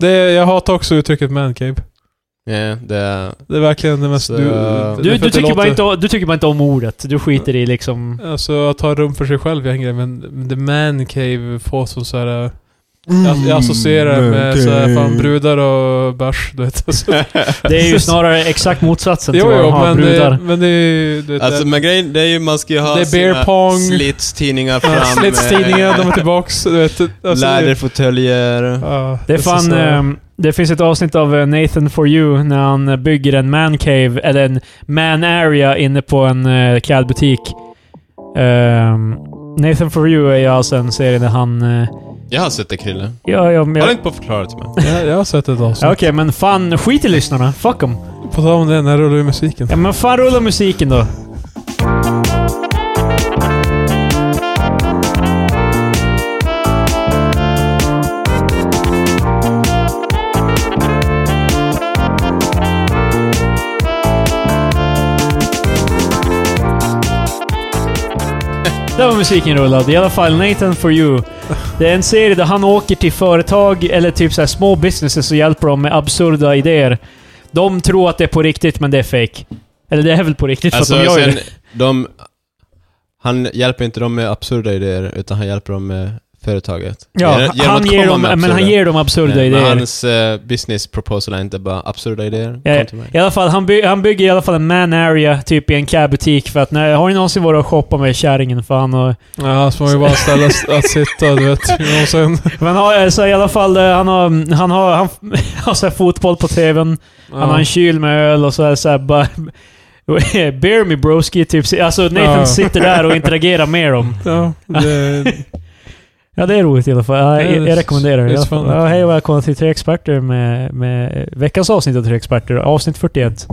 Det, jag hatar också uttrycket mancave. Nej, det är... Det är verkligen det mest... Så- um, Du, det Du- Du, är för du, att det tycker bara låter- inte, om- du tycker bara inte om ordet. Du skiter i liksom... Alltså att ha rum för sig själv är en grej, men men the man cave får som så här. eh, Jag, Mm, jag associerar det med så här, fan brudar och bärs, du vet. Alltså. Det är ju snarare exakt motsatsen till Jo, vad jo, de har men, eh, brudar. det, men det är ju... du vet, Alltså det- men grejen, det är ju man ska ju ha Det är beer sina pong. slitstidningar ja, fram. Slitstidningar, de är eh, tillbaks, du vet. Alltså, det- Läderfåtöljer. ja, Det är alltså, fan... så- ehm, det finns ett avsnitt av eh, Nathan For You när han eh, bygger en man cave, eller en man area inne på en uh, klädbutik. Ehm, Nathan For You är ju alltså en serie där han... eh, Jag har sett det Krille. ja, ja, men Har du jag, inte på förklarat till mig? jag, jag har sett ett avsnitt. Ja, Okej, men fan skit i lyssnarna. Fuck dem. På tal om det, när rullar ju musiken? Ja, men fan rulla musiken då. Där var musiken rullad. I alla fall Nathan for you. Det är en serie där han åker till företag eller typ så här små businesses och hjälper dem med absurda idéer. De tror att det är på riktigt, men det är fake. Eller det är väl på riktigt, Alltså, för att de gör ju sen, det. de, han hjälper inte dem med absurda idéer, utan han hjälper dem med företaget. Ja, Genom- genom han att ger komma dem, med men han absurda- ger dem absurda Nej, idéer. Men hans eh, business proposal är inte bara absurda idéer. Ja, Kom till mig. I alla fall, han, by han bygger i alla fall en man area typ i en cabbutik för att nej, har ni någonsin varit och shoppat med kärringen? För han och, Ja, så man ju bara ställa att sitta, du vet. Och sen, men har, så i alla fall, eh, han har, han har, han har så här fotboll på TVn, han har en kyl med öl och så här, så här bara... Bear me broski, typ. Alltså Nathan Ja. sitter där och interagerar med dem. ja, det, Ja, det är roligt i alla fall. Ja, Ja, jag, det är jag rekommenderar s- det det. i är alla fall. spännande. Ja, hej och välkomna till Tre Experter med, med veckans avsnitt av Tre Experter, avsnitt 41.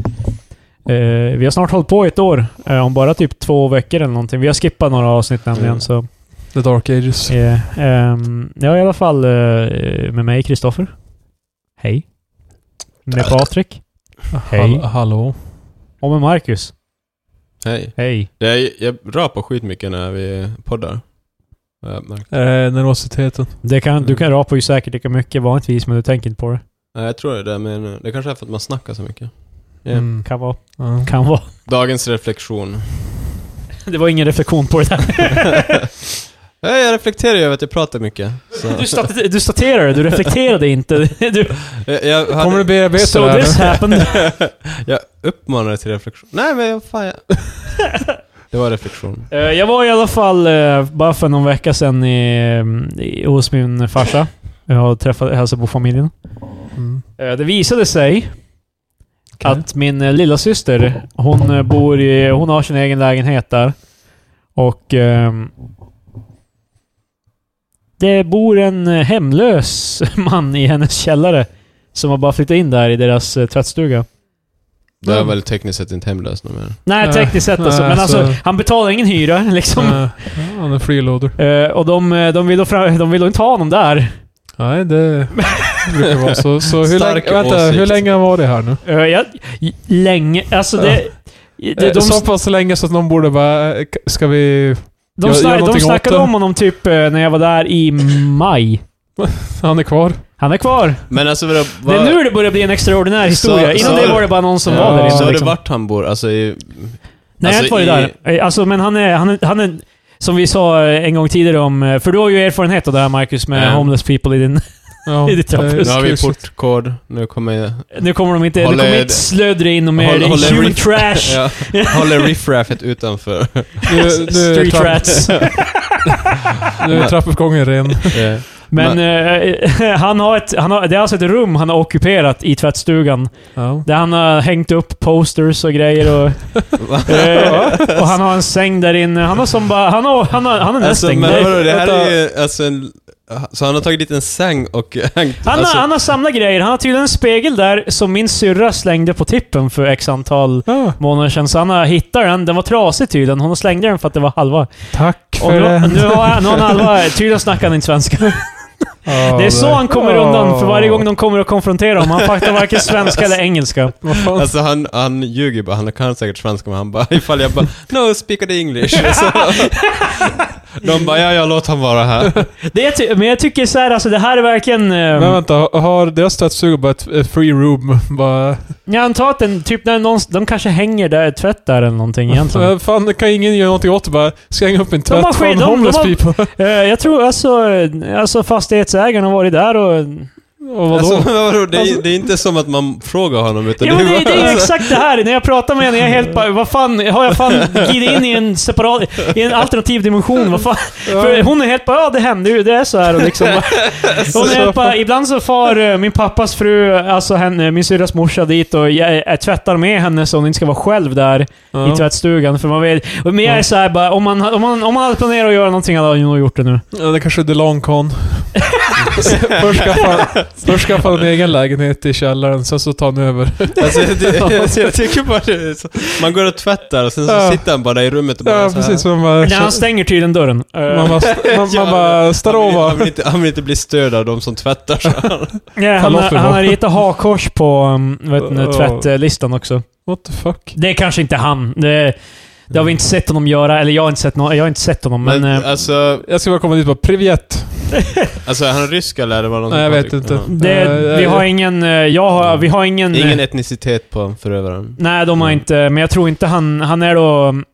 Eh, vi har snart hållit på i ett år, eh, om bara typ två veckor eller någonting. Vi har skippat några avsnitt nämligen. Mm. Så, the dark ages. eh, ehm, ja, i alla fall eh, med mig Kristoffer. Hej. Med Patrik. Hej. Hall, hallå. Och med Marcus. Hej. Hej. Det är, jag rapar skitmycket när vi poddar. Har jag märkt. Eh, nervositeten. Det kan, du kan rapa ju säkert lika mycket vanligtvis, men du tänker inte på det. Nej, jag tror det är det, men det kanske är för att man snackar så mycket. Ja. Mm. Kan vara. Ja. Kan vara. Dagens reflektion. Det var ingen reflektion på det där. Nej, jag reflekterar ju över att jag pratar mycket. Så. Du, stat- du staterade, du reflekterade inte. Du, Jag, jag hade- Kommer du bearbeta so det här this nu? happened. jag uppmanar dig till reflektion. Nej, men jag- fan jag... Det var reflektion. Eh, Jag var i alla fall, eh, bara för någon vecka sedan, i, mm, i, hos min farsa. Jag har träffat hälsat på familjen. Mm. Eh, Det visade sig Okej. att min eh, lilla syster hon eh, bor i, hon har sin egen lägenhet där. Och ehm, det bor en eh, hemlös man i hennes källare som har bara flyttat in där i deras eh, tvättstuga. Det är Mm. väl tekniskt sett inte hemlöst nu mer. Nej, Nej, tekniskt sett alltså. nej, Men alltså- alltså, han betalar ingen hyra liksom. Eh, ja, han är freeloader. Eh, och de, eh, de, vill då fram, de vill då inte ha honom där. Nej, det brukar vara så. Så hur Stark länge, vänta, åsikt. hur länge var det här nu? Eh, jag, j- länge... Alltså det... Eh, det de, så pass länge så att någon borde bara, eh, k- ska vi... de, gör- gör sna, de någonting åt snackade det. om honom typ eh, när jag var där i maj. Han är kvar. Han är kvar. Men alltså vadå? Det är nu det börjar bli en extraordinär historia. Så- Innan så- det var det bara någon som Ja, var där Så inne. är det Liksom. vart han bor? Alltså i... Nej, jag har inte alltså, varit där. Eh, Alltså, men han är, han, är, han är... Som vi sa eh, en gång tidigare om... eh, För du har ju erfarenhet av det här Marcus, med Ja. homeless people i din... Ja, Eh, I ditt trappus. Nu har vi port. portkod, nu kommer jag... Nu kommer de inte... Håller- nu kommer inte slödra in och mer. Håller- Det är håller- human trash. Ja, håller riffraffet utanför. Nu, nu, är Street trapp- rats. nu är trappuppgången ren. Eh, Men eh, han har ett, han har, det är alltså ett rum han har ockuperat i tvättstugan. Ja. Där han har hängt upp posters och grejer. Och, va? eh, och han har en säng där inne. Han har som bara... Han har, han har, han har Alltså, nästan men alltså, vadå, det här är ju alltså en... Så han har tagit dit en säng och hängt... han, alltså, har, han har samlat grejer. Han har tydligen en spegel där som min syrra slängde på tippen för x antal Ja, månader sedan. Så han har hittat den. Den var trasig tydligen. Hon slängde den för att det var halva. tack Och för nu, det. nu, har, han- nu har han halva... Tydligen snackar han inte svenska. Ja, Det är så han kommer undan för varje gång Ja. de kommer och konfronterar honom. Han fattar varken svenska eller engelska. Vad fan? Alltså han, han ljuger bara, han kan säkert svenska men han bara ifall jag bara “No, speak the English” så, De bara, ja, ja, låt han vara här. Det är ty- men jag tycker så här, alltså det här är verkligen... ehm, Men vänta, har- har deras tvättstuga bara ett ett free room? Bara... Jag antar att den, typ när någon, de kanske hänger där, tvätt där eller någonting egentligen. Men Fan, det kan ingen göra någonting åt det bara. Ska hänga upp en De har tvätt skit- från de- homeless de har- people. Eh, jag tror alltså, eh, alltså fastighetsägaren har varit där och... Och vadå? Alltså, vadå? Det, är, det är inte som att man frågar honom, utan Jo, det det, är alltså- det är ju bara- exakt det här. När jag pratar med henne, jag är helt bara, vad fan, har jag fan glidit in i en separat, i en alternativ dimension? Vad fan? För hon är helt bara, ja det händer ju, det är så här och liksom. Hon är helt bara, ibland så far eh, min pappas fru, alltså henne, min syrras morsa dit och jag, jag tvättar med henne så hon inte ska vara själv där. Ja. i tvättstugan. För man vet, men jag är Ja. så här bara, om man, om, man, om man hade planerat att göra någonting hade han ju nog gjort det nu. Ja, det kanske är the long con. först, skaffa, först skaffa en egen lägenhet i källaren, sen så tar han över. Alltså, jag, jag, jag tycker bara det är så. Man går och tvättar och sen så Ja. sitter han bara i rummet och bara Ja, så här. precis. Man bara... Nej, han stänger tydligen dörren. Eh, Man bara, man, man bara Han vill, Starova. han, vill inte, han vill inte bli störd av de som tvättar. Så. nej, han, Kalla oss har- för han vad? har ritat hakkors på um, vet ni, Oh. tvättlistan också. What the fuck? Det är kanske inte han. Det, det har vi inte sett honom göra, eller jag har inte sett, no jag har inte sett honom, men... Men, eh, alltså, Jag ska bara komma dit och bara Privet! alltså, är han rysk eller är det bara någon Nej, jag som- vet inte. Ja. det, eh, vi har eh, ingen... eh, Jag har, vi har ingen... eh, Ingen etnicitet på förövaren. Nej, de har Mm. inte... Men jag tror inte han... Han är då... mm,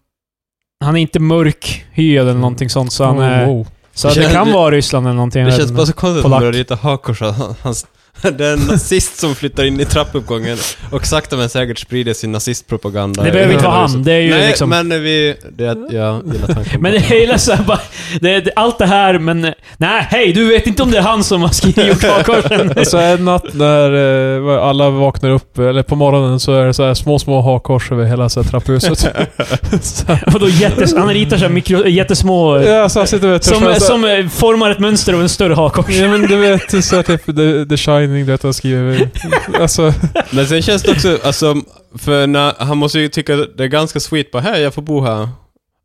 Han är inte mörkhyad eller någonting sånt, så han är... Oh, wow. Så Det det känns- kan det- vara Ryssland eller någonting. jag Det vet känns inte. bara så konstigt att Polack. man börjar rita hakkors. Han, han, det är en nazist som flyttar in i trappuppgången och sakta men säkert sprider sin nazistpropaganda. Det behöver inte vara han. Det är ju Nej, liksom... men vi... Det, jag gillar tanken. Men på jag gillar såhär bara, det, det, allt det här men... eh, Nej, hej! Du vet inte om det är han som har skrivit gjort hakkorsen. Och så en natt när eh, vad- alla vaknar upp, eller på morgonen, så är det så här små, små hakkors över hela så här trapphuset. så, här. Vadå jättes, han ritar såhär mikro, jättesmå... eh, ja, så här sitter vi och Som, törs- som eh, formar ett mönster av en större hakkors. Ja men du vet, så här typ The, the Shining, du vet han skriver. Alltså, Men sen känns det också, alltså, för när, han måste ju tycka det är ganska sweet bara här, jag får bo här.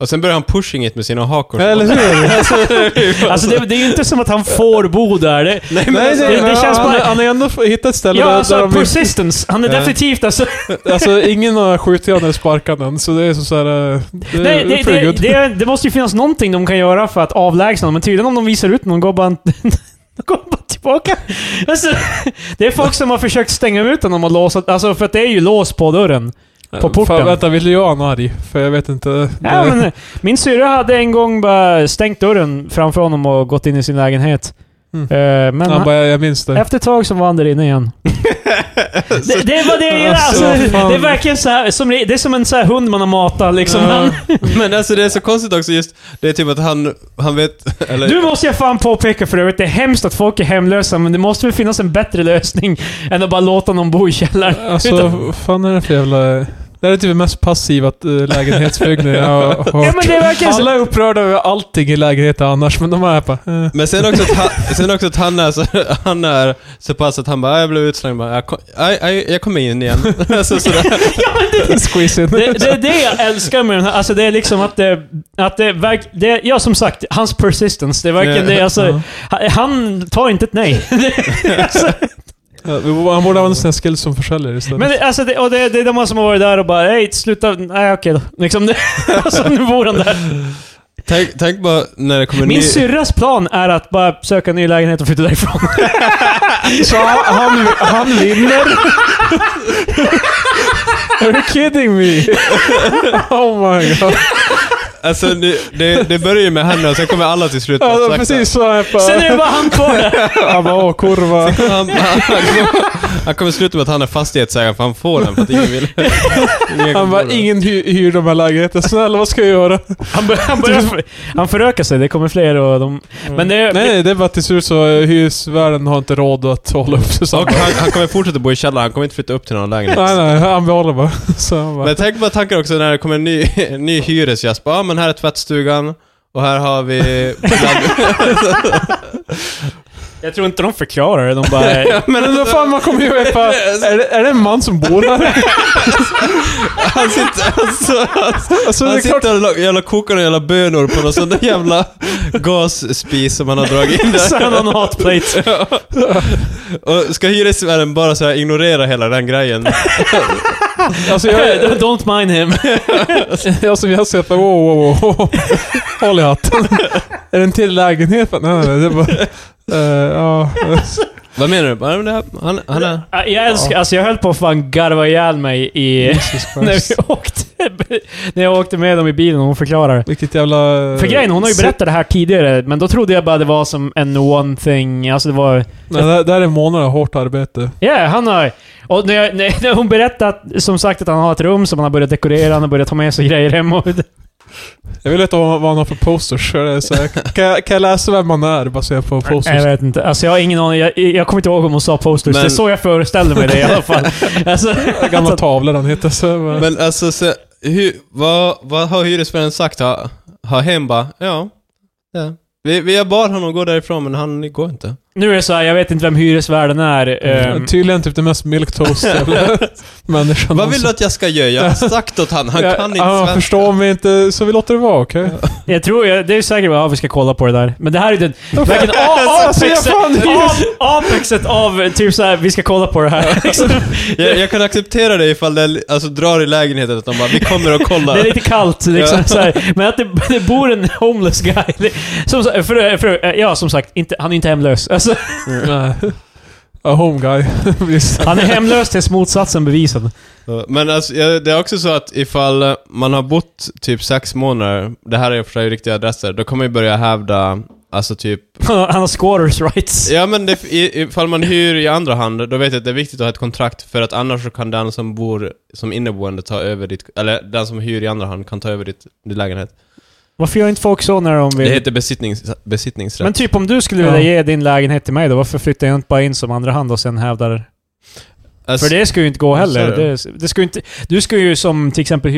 Och sen börjar han pushing it med sina hakkors. eller hur? Alltså, det är ju- Alltså det, det är ju inte som att han får bo där. Det, nej, men Nej, alltså, nej, det men känns han, bara- han har ändå f- hittat ett ställe ja, där, där alltså de, persistence. Han är Ja. definitivt alltså... Alltså ingen har skjutit honom eller sparkat honom, så det är så, så här... eh, Det, Nej, det är det, pretty det, good. det, det måste ju finnas någonting de kan göra för att avlägsna dem, men tydligen om de visar ut någon går bara... de går bara tillbaka. Alltså, det är folk som har försökt stänga ut honom och låsa... Alltså, för att det är ju lås på dörren. på porten. Fan, vänta, vill jag ha en arg? För jag vet inte. Ja, Det- men, eh, min syrra hade en gång bara stängt dörren framför honom och gått in i sin lägenhet. Mm. Eh, Men han han, bara, jag minns det. efter ett tag så var han där inne igen. det, det var det jag gillar. Alltså, Alltså, fan. det är verkligen så här, som, det är som en så här hund man har matat liksom. Han, men alltså det är så konstigt också just, det är typ att han, han vet, eller... Nu måste jag fan påpeka för övrigt, det är hemskt att folk är hemlösa, men det måste väl finnas en bättre lösning än att bara låta någon bo i källaren. Alltså, Utan- vad fan är det för jävla... Det här är typ det mest passiva eh, lägenhetsbyggnaden jag har hört. Ja, men det är verkligen så. Alla är upprörda över allting i lägenheten annars, men de här bara... Eh. Men sen också att han, sen också att han, är så, han är så pass att han bara, "Ah, jag blev utslängd, bara, jag, kom, aj, aj, jag kommer in igen. alltså, sådär. eh, Squeeze in. Det, det är det jag älskar med den här, alltså det är liksom att det, att det, verk, det ja som sagt, hans persistence, det är verkligen det, alltså, han- han tar inte ett nej. Ja, Han borde använda sina skills som försäljare istället. Men det, alltså det, och det, det är de som har varit där och bara hej, sluta, nej okej då. Liksom det, alltså, nu bor han där. tänk, tänk bara när det kommer en Min ny... syrras plan är att bara söka en ny lägenhet och flytta därifrån. Så han, han, han vinner? Are you kidding me? Oh my god. Alltså det, det, det börjar ju med henne och sen kommer alla till slut Alltså, sagt precis så. här bara- Sen är det bara han kvar där. Han bara, åh kurva. Han, han, han, kommer- han kommer sluta med att han är fastighetsägare för han får den för att ingen vill... ingen Han bara, kommer ihåg ingen hyr, hyr de här lägenheterna. Snälla, vad ska jag göra? Han, bör, han, börjar Mm. för, han förökar sig, det kommer fler och de... Men det... Nej, nej, det är bara till slut så eh, hyresvärden har inte råd att hålla upp sig. den. så han Och bara- han, han kommer fortsätta bo i källaren, han kommer inte flytta upp till någon lägenhet. Nej, nej, han behåller bara. Så han bara, Men tänk bara tanken också när det kommer en ny, en ny hyresgäst. Bara, ah, men här är tvättstugan och här har vi... Jag tror inte de förklarar det, de bara... men ändå fan, man kommer ju ihåg bara, är, det- är det en man som bor här? han sitter, alltså, Alltså, det är han klart. sitter och la- jävla kokar några jävla bönor på någon sån där jävla gasspis som han har dragit in där. Så han har en hotplate. Och ska hyresvärden bara så här ignorera hela den grejen? Alltså jag, Don't mind him. jag som jag har sett bara wow, wow, wow, wow. Håll i hatten. Är det en till lägenhet? Nej, nej, nej. Det är bara, eh, ja. Vad menar du? Bara, men det här- Han, han är... jag älskar, alltså jag höll på att fan garva ihjäl mig i... Jesus när, Christ. vi åkte, när jag åkte med dem i bilen och hon förklarade. Vilket jävla... eh, För grejen, hon har ju se- berättat det här tidigare, men då trodde jag bara det var som en one thing. Alltså det var... Nej, det, här- det här är månader av hårt arbete. Ja, han har... Och när, jag, när när hon berättade att- som sagt att han har ett rum som han har börjat dekorera, han har börjat ta med sig grejer hem och... Jag vill veta vad, vad han har för posters. Så det är så här, kan, jag, kan jag läsa vem man är baserat på Nej, posters? Jag vet inte. Alltså jag har ingen aning. Jag, jag kommer inte ihåg om hon sa posters. Men- Det är så jag föreställde mig det i alla fall. Alltså, Gamla tavlor han hittar. Så jag bara, Men alltså, så, hur, vad, vad har hyresvärden sagt? Har, har hen bara, ja. ja. Vi, vi jag bad honom gå därifrån, men han går inte. nu är det så här, jag vet inte vem hyresvärden är. ehm, Tydligen typ den mest milquetoast jävla människan. Vad vill du att jag ska göra? Jag har sagt åt han, han Ja, kan inte ja, Han svenska. förstår mig inte, så vi låter det vara, okej? jag tror, jag, det är säkert vad ja, vi ska kolla på det där. Men det här är den... Verkligen Alltså, jag apexet, fan- ap- apexet av eh, typ så här, vi ska kolla på det här. liksom. Jag, jag kan acceptera det ifall det alltså, drar i lägenheten, att de bara, vi kommer och kollar. Det är lite kallt liksom, så här. Men att det, det bor en homeless guy. Det- Som, sa- för, för, eh, ja, som sagt, inte, han är inte hemlös. Alltså, Nej. A home guy. Visst. han är hemlös tills motsatsen bevisad. Så, Men alltså, jag- det är också så att ifall eh, man har bott typ sex månader, det här är i och för sig riktiga adresser, då kommer man ju börja hävda, alltså typ... Han har squatters rights. Ja men det, i- ifall man hyr i andra hand, då vet jag att det är viktigt att ha ett kontrakt för att annars så kan den som bor som inneboende ta över ditt... Eller den som hyr i andra hand kan ta över ditt, din lägenhet. Varför gör inte folk så när de Det vill? heter besittnings, besittningsrätt. Men typ om du skulle Ja. vilja ge din lägenhet till mig då, varför flyttar jag inte bara in som andra hand och sen hävdar... alltså, För det ska ju inte gå så heller. är det. Det, det ska ju inte, du ska ju som till exempel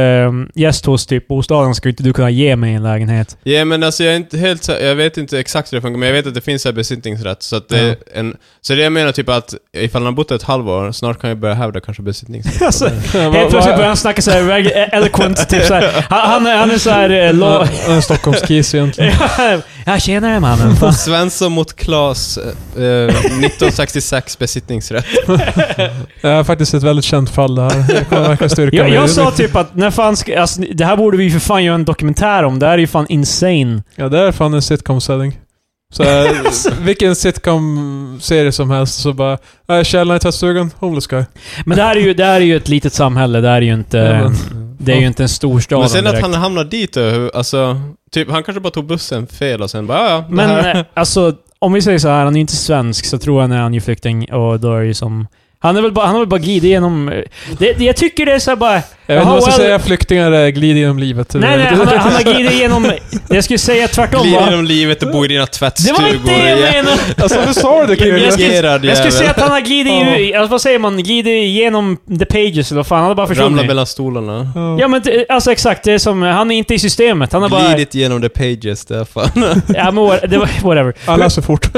hyresgäst hos typ bostaden, ska ju inte du kunna ge mig en lägenhet. Ja men alltså jag är inte helt så, jag vet inte exakt hur det funkar, men jag vet att det finns så här besittningsrätt. Så att det är en... Så det jag menar typ att ifall man har bott ett halvår, snart kan jag börja hävda kanske besittningsrätt. Alltså, Ja, vad- helt plötsligt vad- börjar han snacka såhär reg- eloquent, typ såhär. Han, han, är- han är såhär... eh, lo- Ja, En Stockholmskis egentligen. Ja, tjenare mannen. Fan. Svensson mot Klas, eh, eh, 1966 besittningsrätt. Det är faktiskt ett väldigt känt fall det här. Jag kommer verkligen styrka Jag, mig. jag sa typ att när fan ska, alltså, det här borde vi ju för fan göra en dokumentär om. Det här är ju fan insane. Ja, det är fan en sitcom-setting. Så, här, Alltså. vilken sitcom-serie som helst så bara... Äh, källaren i tvättstugan, homeless guy. Men det här är ju, det här är ju ett litet samhälle. Det här är ju inte... Ja, Det är ju inte en storstad Men sen att direkt. han hamnar dit då, hur- alltså, typ, han kanske bara tog bussen fel och sen bara, "Ja, ja, det Men här." eh, alltså, om vi säger så här, han är ju inte svensk, så tror jag när han är flykting och då är det ju som... Han, är väl bara, han har väl bara glidit igenom... eh, Det, det, jag tycker det är så här bara... Jag vet inte Jaha, vad jag ska well- säga, flyktingar eh, glider genom livet. Nej, nej, han, har- han har glidit igenom... Jag skulle säga tvärtom Glider va? genom livet och bor i dina Det tvättstugor. var inte det jag menade! Alltså du sa det Jag, Kevin. jag, skulle, Privilegierad jag jävel. skulle säga att han har glidit... i- Alltså, vad säger man? Glidit igenom the pages eller vad fan. Han har bara Ramlar försvunnit. mellan stolarna. Ja. Ja men det- alltså exakt, det är som... Han är inte i systemet. Han har bara... Glidit genom the pages, det är fan. Ja, men what- det var, whatever. Han läser fort.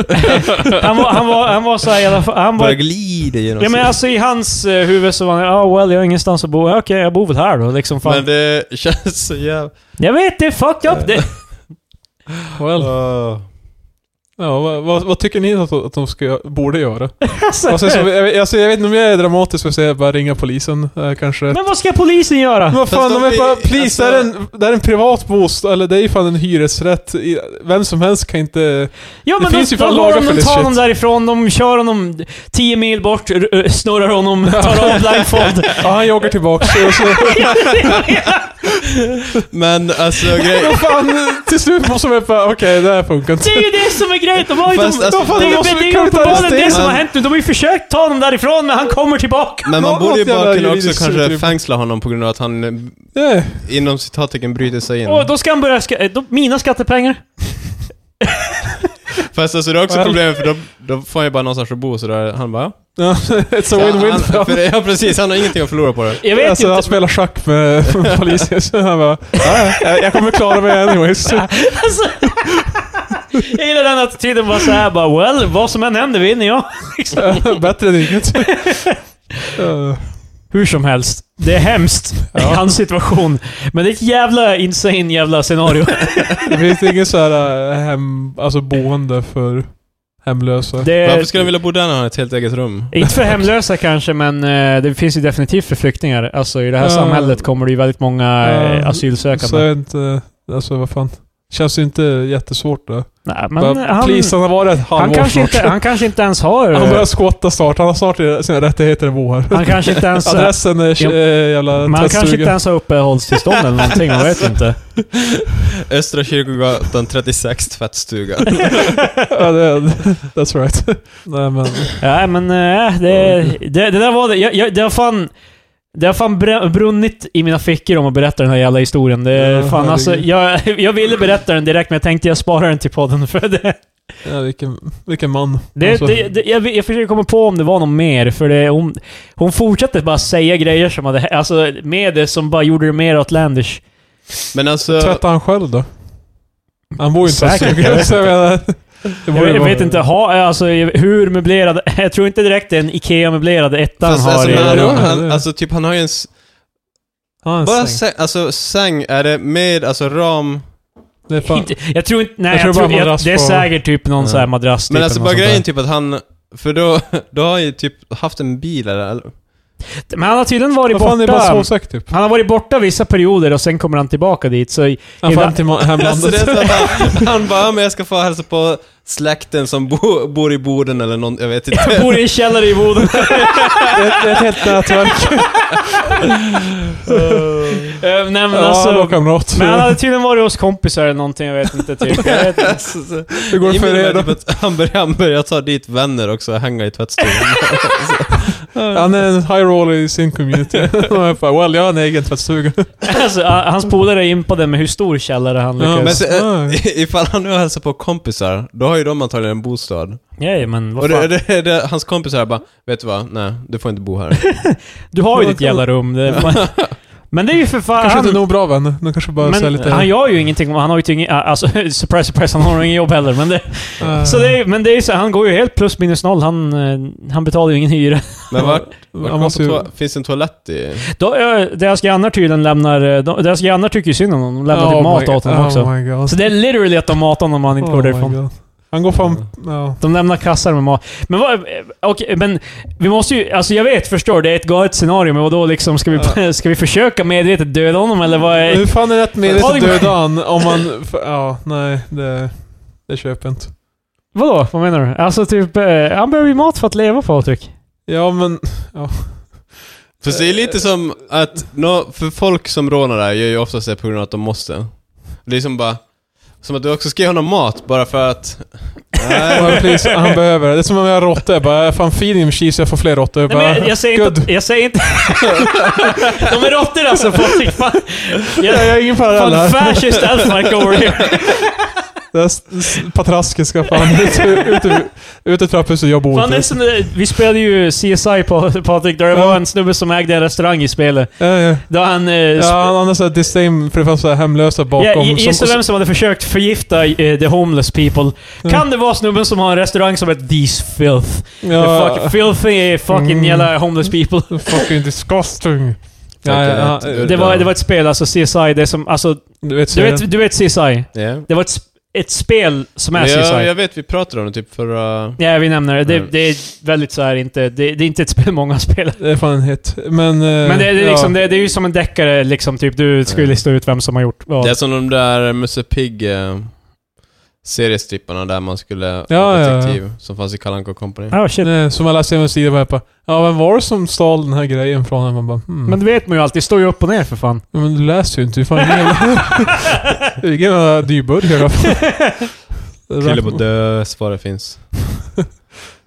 Han var, han var, han var så här i alla fall... Han var Bara glider genom Ja men alltså i hans eh, huvud så var han ja well jag har ingenstans att bo. Ja, Okej, jag bor väl här då liksom. Fan. Men det känns så jävla... Jag vet, det är fucked up. Eh, Det, Well. Åh. Ja, vad, vad, vad tycker ni att, att de ska, borde göra? alltså, Alltså, som, jag, vet- alltså, jag vet inte om jag är dramatisk och säger bara ringa polisen eh, kanske. Ah, Men men vad ska polisen göra? vad fan, Fast de de är bara, är- please, alltså- det, är en, det är en privat bostad, eller det är ju fan en hyresrätt. I- Vem som helst kan inte... Ja Det men de, finns ju de, fan går lagar honom, för de det tar shit. honom därifrån, de kör honom 10 mil bort, r- ö, snurrar honom, tar av blindfold. Ja, han joggar tillbaks. Och så, Men alltså grejen... vad fan, till slut måste man bara, okej, det här funkar inte. Det är ju det som är grejen. De har ju... Fast, de, alltså, fan, det de är ju måste det är vi ju kunna uppenbarligen arrestera det som har han. hänt nu. De har ju försökt ta honom därifrån, men han kommer tillbaka. Men man Nå- borde ju något bara jävla kunna också juridiskt kanske utrymme. fängsla honom på grund av att han eh, Yeah. inom citattecken bryter sig in. Och då ska han börja... Ska, eh, då, mina skattepengar. Fast alltså det är också Well. problemet för då, då får han ju bara någonstans att bo så där han bara... Ja, It's a Ja, win-win. han- för honom. för- Ja precis, han har ingenting att förlora på det. Jag vet Alltså, ju han inte. spelar schack med polisen, så han bara, "Ja, ja, jag kommer klara mig anyways. Alltså, jag gillar den attityden bara såhär bara well, vad som än händer vinner jag. Liksom. Bättre än inget. Ja. Hur som helst, det är hemskt i Ja. hans situation. Men det är ett jävla insane jävla scenario. eh, Det finns ingen så här äh, hem, alltså boende för hemlösa. Det är- Varför skulle han vilja bo där när han har ett helt eget rum? Inte för hemlösa kanske, men eh, det finns ju definitivt för flyktingar. Alltså i det här Ja. samhället kommer det ju väldigt många Ja. eh, asylsökande. Så är inte... Alltså vad fan. Känns ju inte jättesvårt då. Nej, men Men han, Please, han har varit ett han, halvår kanske snart. inte, han kanske inte ens har... eh, Han börjar skotta snart. Han har snart sina rättigheter i bo här. han kanske inte ens... Adressen är Jo. ja. jävla men han kanske inte tvättstuga. ens har uppehållstillstånd eller någonting, man vet inte. Östra Kyrkogatan 36 tvättstuga. Ja, det- That's right. Nej men... Nej, men eh, det, det, det där var det. Jag, jag, det har fan... Det har fan br- brunnit i mina fickor om att berätta den här jävla historien. Det, är Ja, fan, alltså, jag, jag ville berätta den direkt, men jag tänkte jag sparar den till podden. För det, Ja, vilken, vilken man. det, Alltså, det, det, jag, jag försöker komma på om det var något mer, för det, hon, hon fortsatte bara säga grejer som hade, alltså, med det som bara gjorde det mer outlandish. Men alltså... Tvättar han själv då? Han bor ju inte på Säkert, jag stugan. vet så jag menar, det Jag, borde vet- jag vara- vet inte ha, alltså, hur möblerad... Jag tror inte direkt det är en IKEA-möblerad etta han Fast, har alltså, i men han, rummet. han, alltså typ han har ju en... s- Han har en Bara säng. säng. Alltså säng, är det med alltså ram... Det är fan, Inte, jag tror inte... Nej, Jag jag tror tror bara jag, madrass det är på- säkert typ någon Ja. sån här madrass. Men typ alltså eller bara något sånt grejen där. typ att han... För då, då har han ju typ haft en bil eller... eller- Men han har tydligen varit vad fan, det är bara borta... sovsäck typ. Han har varit borta vissa perioder och sen kommer han tillbaka dit. Så Han får Ibland- hem till ma- Alltså det är hemlandet. så att han, han bara, "Ja, men jag ska få hälsa på släkten som bo, bor i Boden eller någon, jag vet inte. jag bor i en källare i Boden. Det är ett- det är ett helt nätverk. Eh, Nej men Ja, han har alltså... kamrat. Men han hade tydligen varit hos kompisar eller någonting, jag vet inte. Typ. Jag vet inte. Alltså, så- Hur går det Jag för menar er då? typ att han börjar, han börjar ta dit vänner också och hänga i tvättstugan. Han är en high roller i sin community. Och jag bara, well, jag har en egen tvättstuga. Alltså, ah, hans polare impade med hur stor källare han Ja, Men lyckades... så, Ah. ifall han nu hälsar på kompisar, då har ju de antagligen en bostad. Nej men Och vad det, fan. det, det, hans kompisar bara, vet du vad? Nej, du får inte bo här. Du har ju ditt jävla rum. Det är fan- men det är ju för fan... Kanske han- inte nog bra vän. De kanske bara säger Men lite... han gör ju ingenting, han har ju inget, alltså surprise surprise, han har nog inget jobb heller. Men det, eh, så det är, men det är ju så, han går ju helt plus minus noll, han, eh, han betalar ju ingen hyra. Men vart, vart han måste måste ju... toa- finns det en toalett i... Då, eh, deras grannar tydligen lämnar, eh, de, deras grannar tycker ju synd om honom, de lämnar typ Oh mat my- åt honom också. Oh my god. Så det är literally att de matar honom om han inte går Oh my därifrån. Mm. god. Han går fram... Ja. De lämnar kassar med mat. Men vad, eh, okej, men vi måste ju, alltså jag vet, förstår, det är ett galet scenario, men vadå liksom, ska vi, ska vi försöka medvetet döda honom eller vad Men är... Hur fan är det rätt Ta medvetet dig- döda han om man... för- Ja, nej. Det, det köper jag inte. Vadå? Vad menar du? Alltså typ, eh, han behöver ju mat för att leva Patrik. Ja, men... För det är lite som att, nå för folk som rånar där gör ju oftast det på grund av att de måste. Det är som bara, som att du också ska ge honom mat bara för att... Nej, bara, please, han behöver det. Det är som om jag har råttor. Jag bara, fan feeding him cheese, jag får fler råttor. Jag Nej, bara, men jag, jag säger inte... good. Jag säger inte de är råttor alltså Patrik. Fan, Ja, jag jag, har ingen parallell fan här. fascist Alfmark over here. Det här s- s- Patraske ska fan ut, ut, ut, ut ur trapphuset. Jag bor Fan, det är inte. som, det- vi spelade ju CSI på Patrik, där det Ja. var en snubbe som ägde en restaurang i spelet. Ja, ja. Då han... Eh, Ja, sp- han har såhär disdain för det fanns så här hemlösa bakom. Ja, gi- som, Gissa vem som hade försökt förgifta eh, the homeless people. Ja. Kan det vara snubben som har en restaurang som heter These Filth? The ja, fucking filthy fucking Mm. jävla homeless people. fucking disgusting. Ja, ja, ja, Det var, det var ett spel, alltså CSI, det som... Alltså, du vet, du serien. vet, du vet CSI? Ja. Det var ett, sp- ett spel som är Men Jag, CSI. jag vet, vi pratade om det typ förra... Ja, vi nämner det. Det, Mm. det är väldigt så här inte... Det, det är inte ett spel många spelar. Det är fan en hit. Men, eh, Men det, det, är liksom, det, det är ju som en deckare liksom, typ. Du skulle Mm. lista ut vem som har gjort vad. Det är som de där Musse Pigg eh, seriestripparna där man skulle... ja, ja. detektiv, Som fanns i Kalle Anka Company. Ah, shit. Eh, Som jag läste i en sida bara, bara Ja, vem var det som stal den här grejen från en? Man bara, hmm. Men men, det vet man ju alltid. Det står ju upp och ner för fan. men du läser ju inte. Du är fan ingen jävla... Vilken jävla dyrbudget i alla fall. Kille på dös vad det finns.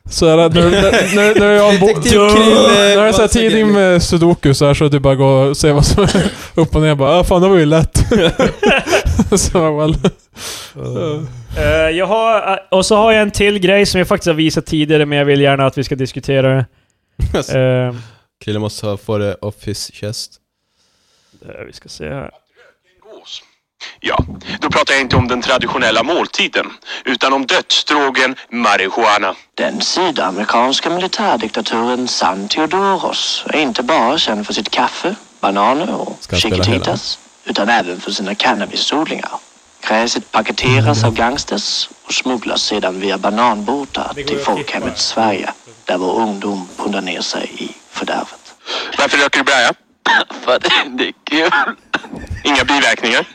Så är det, när, när, när, när jag har en bo- Detektiv Krille, När det är såhär vad säger tidning du? med sudoku så här så du bara går och ser vad som är upp och ner. Bara, ah, fan det var ju lätt. så jag bara, well. Eh, jag har, och så har jag en till grej som jag faktiskt har visat tidigare, men jag vill gärna att vi ska diskutera det. Alltså, Eh, Krille måste ha- få det off his chest. eh, vi ska se här. Gås. Ja, då pratar jag inte om den traditionella måltiden, utan om dödsdrogen marijuana. Den sydamerikanska militärdiktaturen San Theodoros är inte bara känd för sitt kaffe, bananer och Ska jag spela Mm, chiquititas utan även för sina cannabisodlingar. Gräset paketeras av gangsters och och smugglas sedan via bananbåtar till folkhemmet Sverige där vår ungdom pundar ner sig i fördärvet. Varför röker du braja? För det är kul. Inga biverkningar?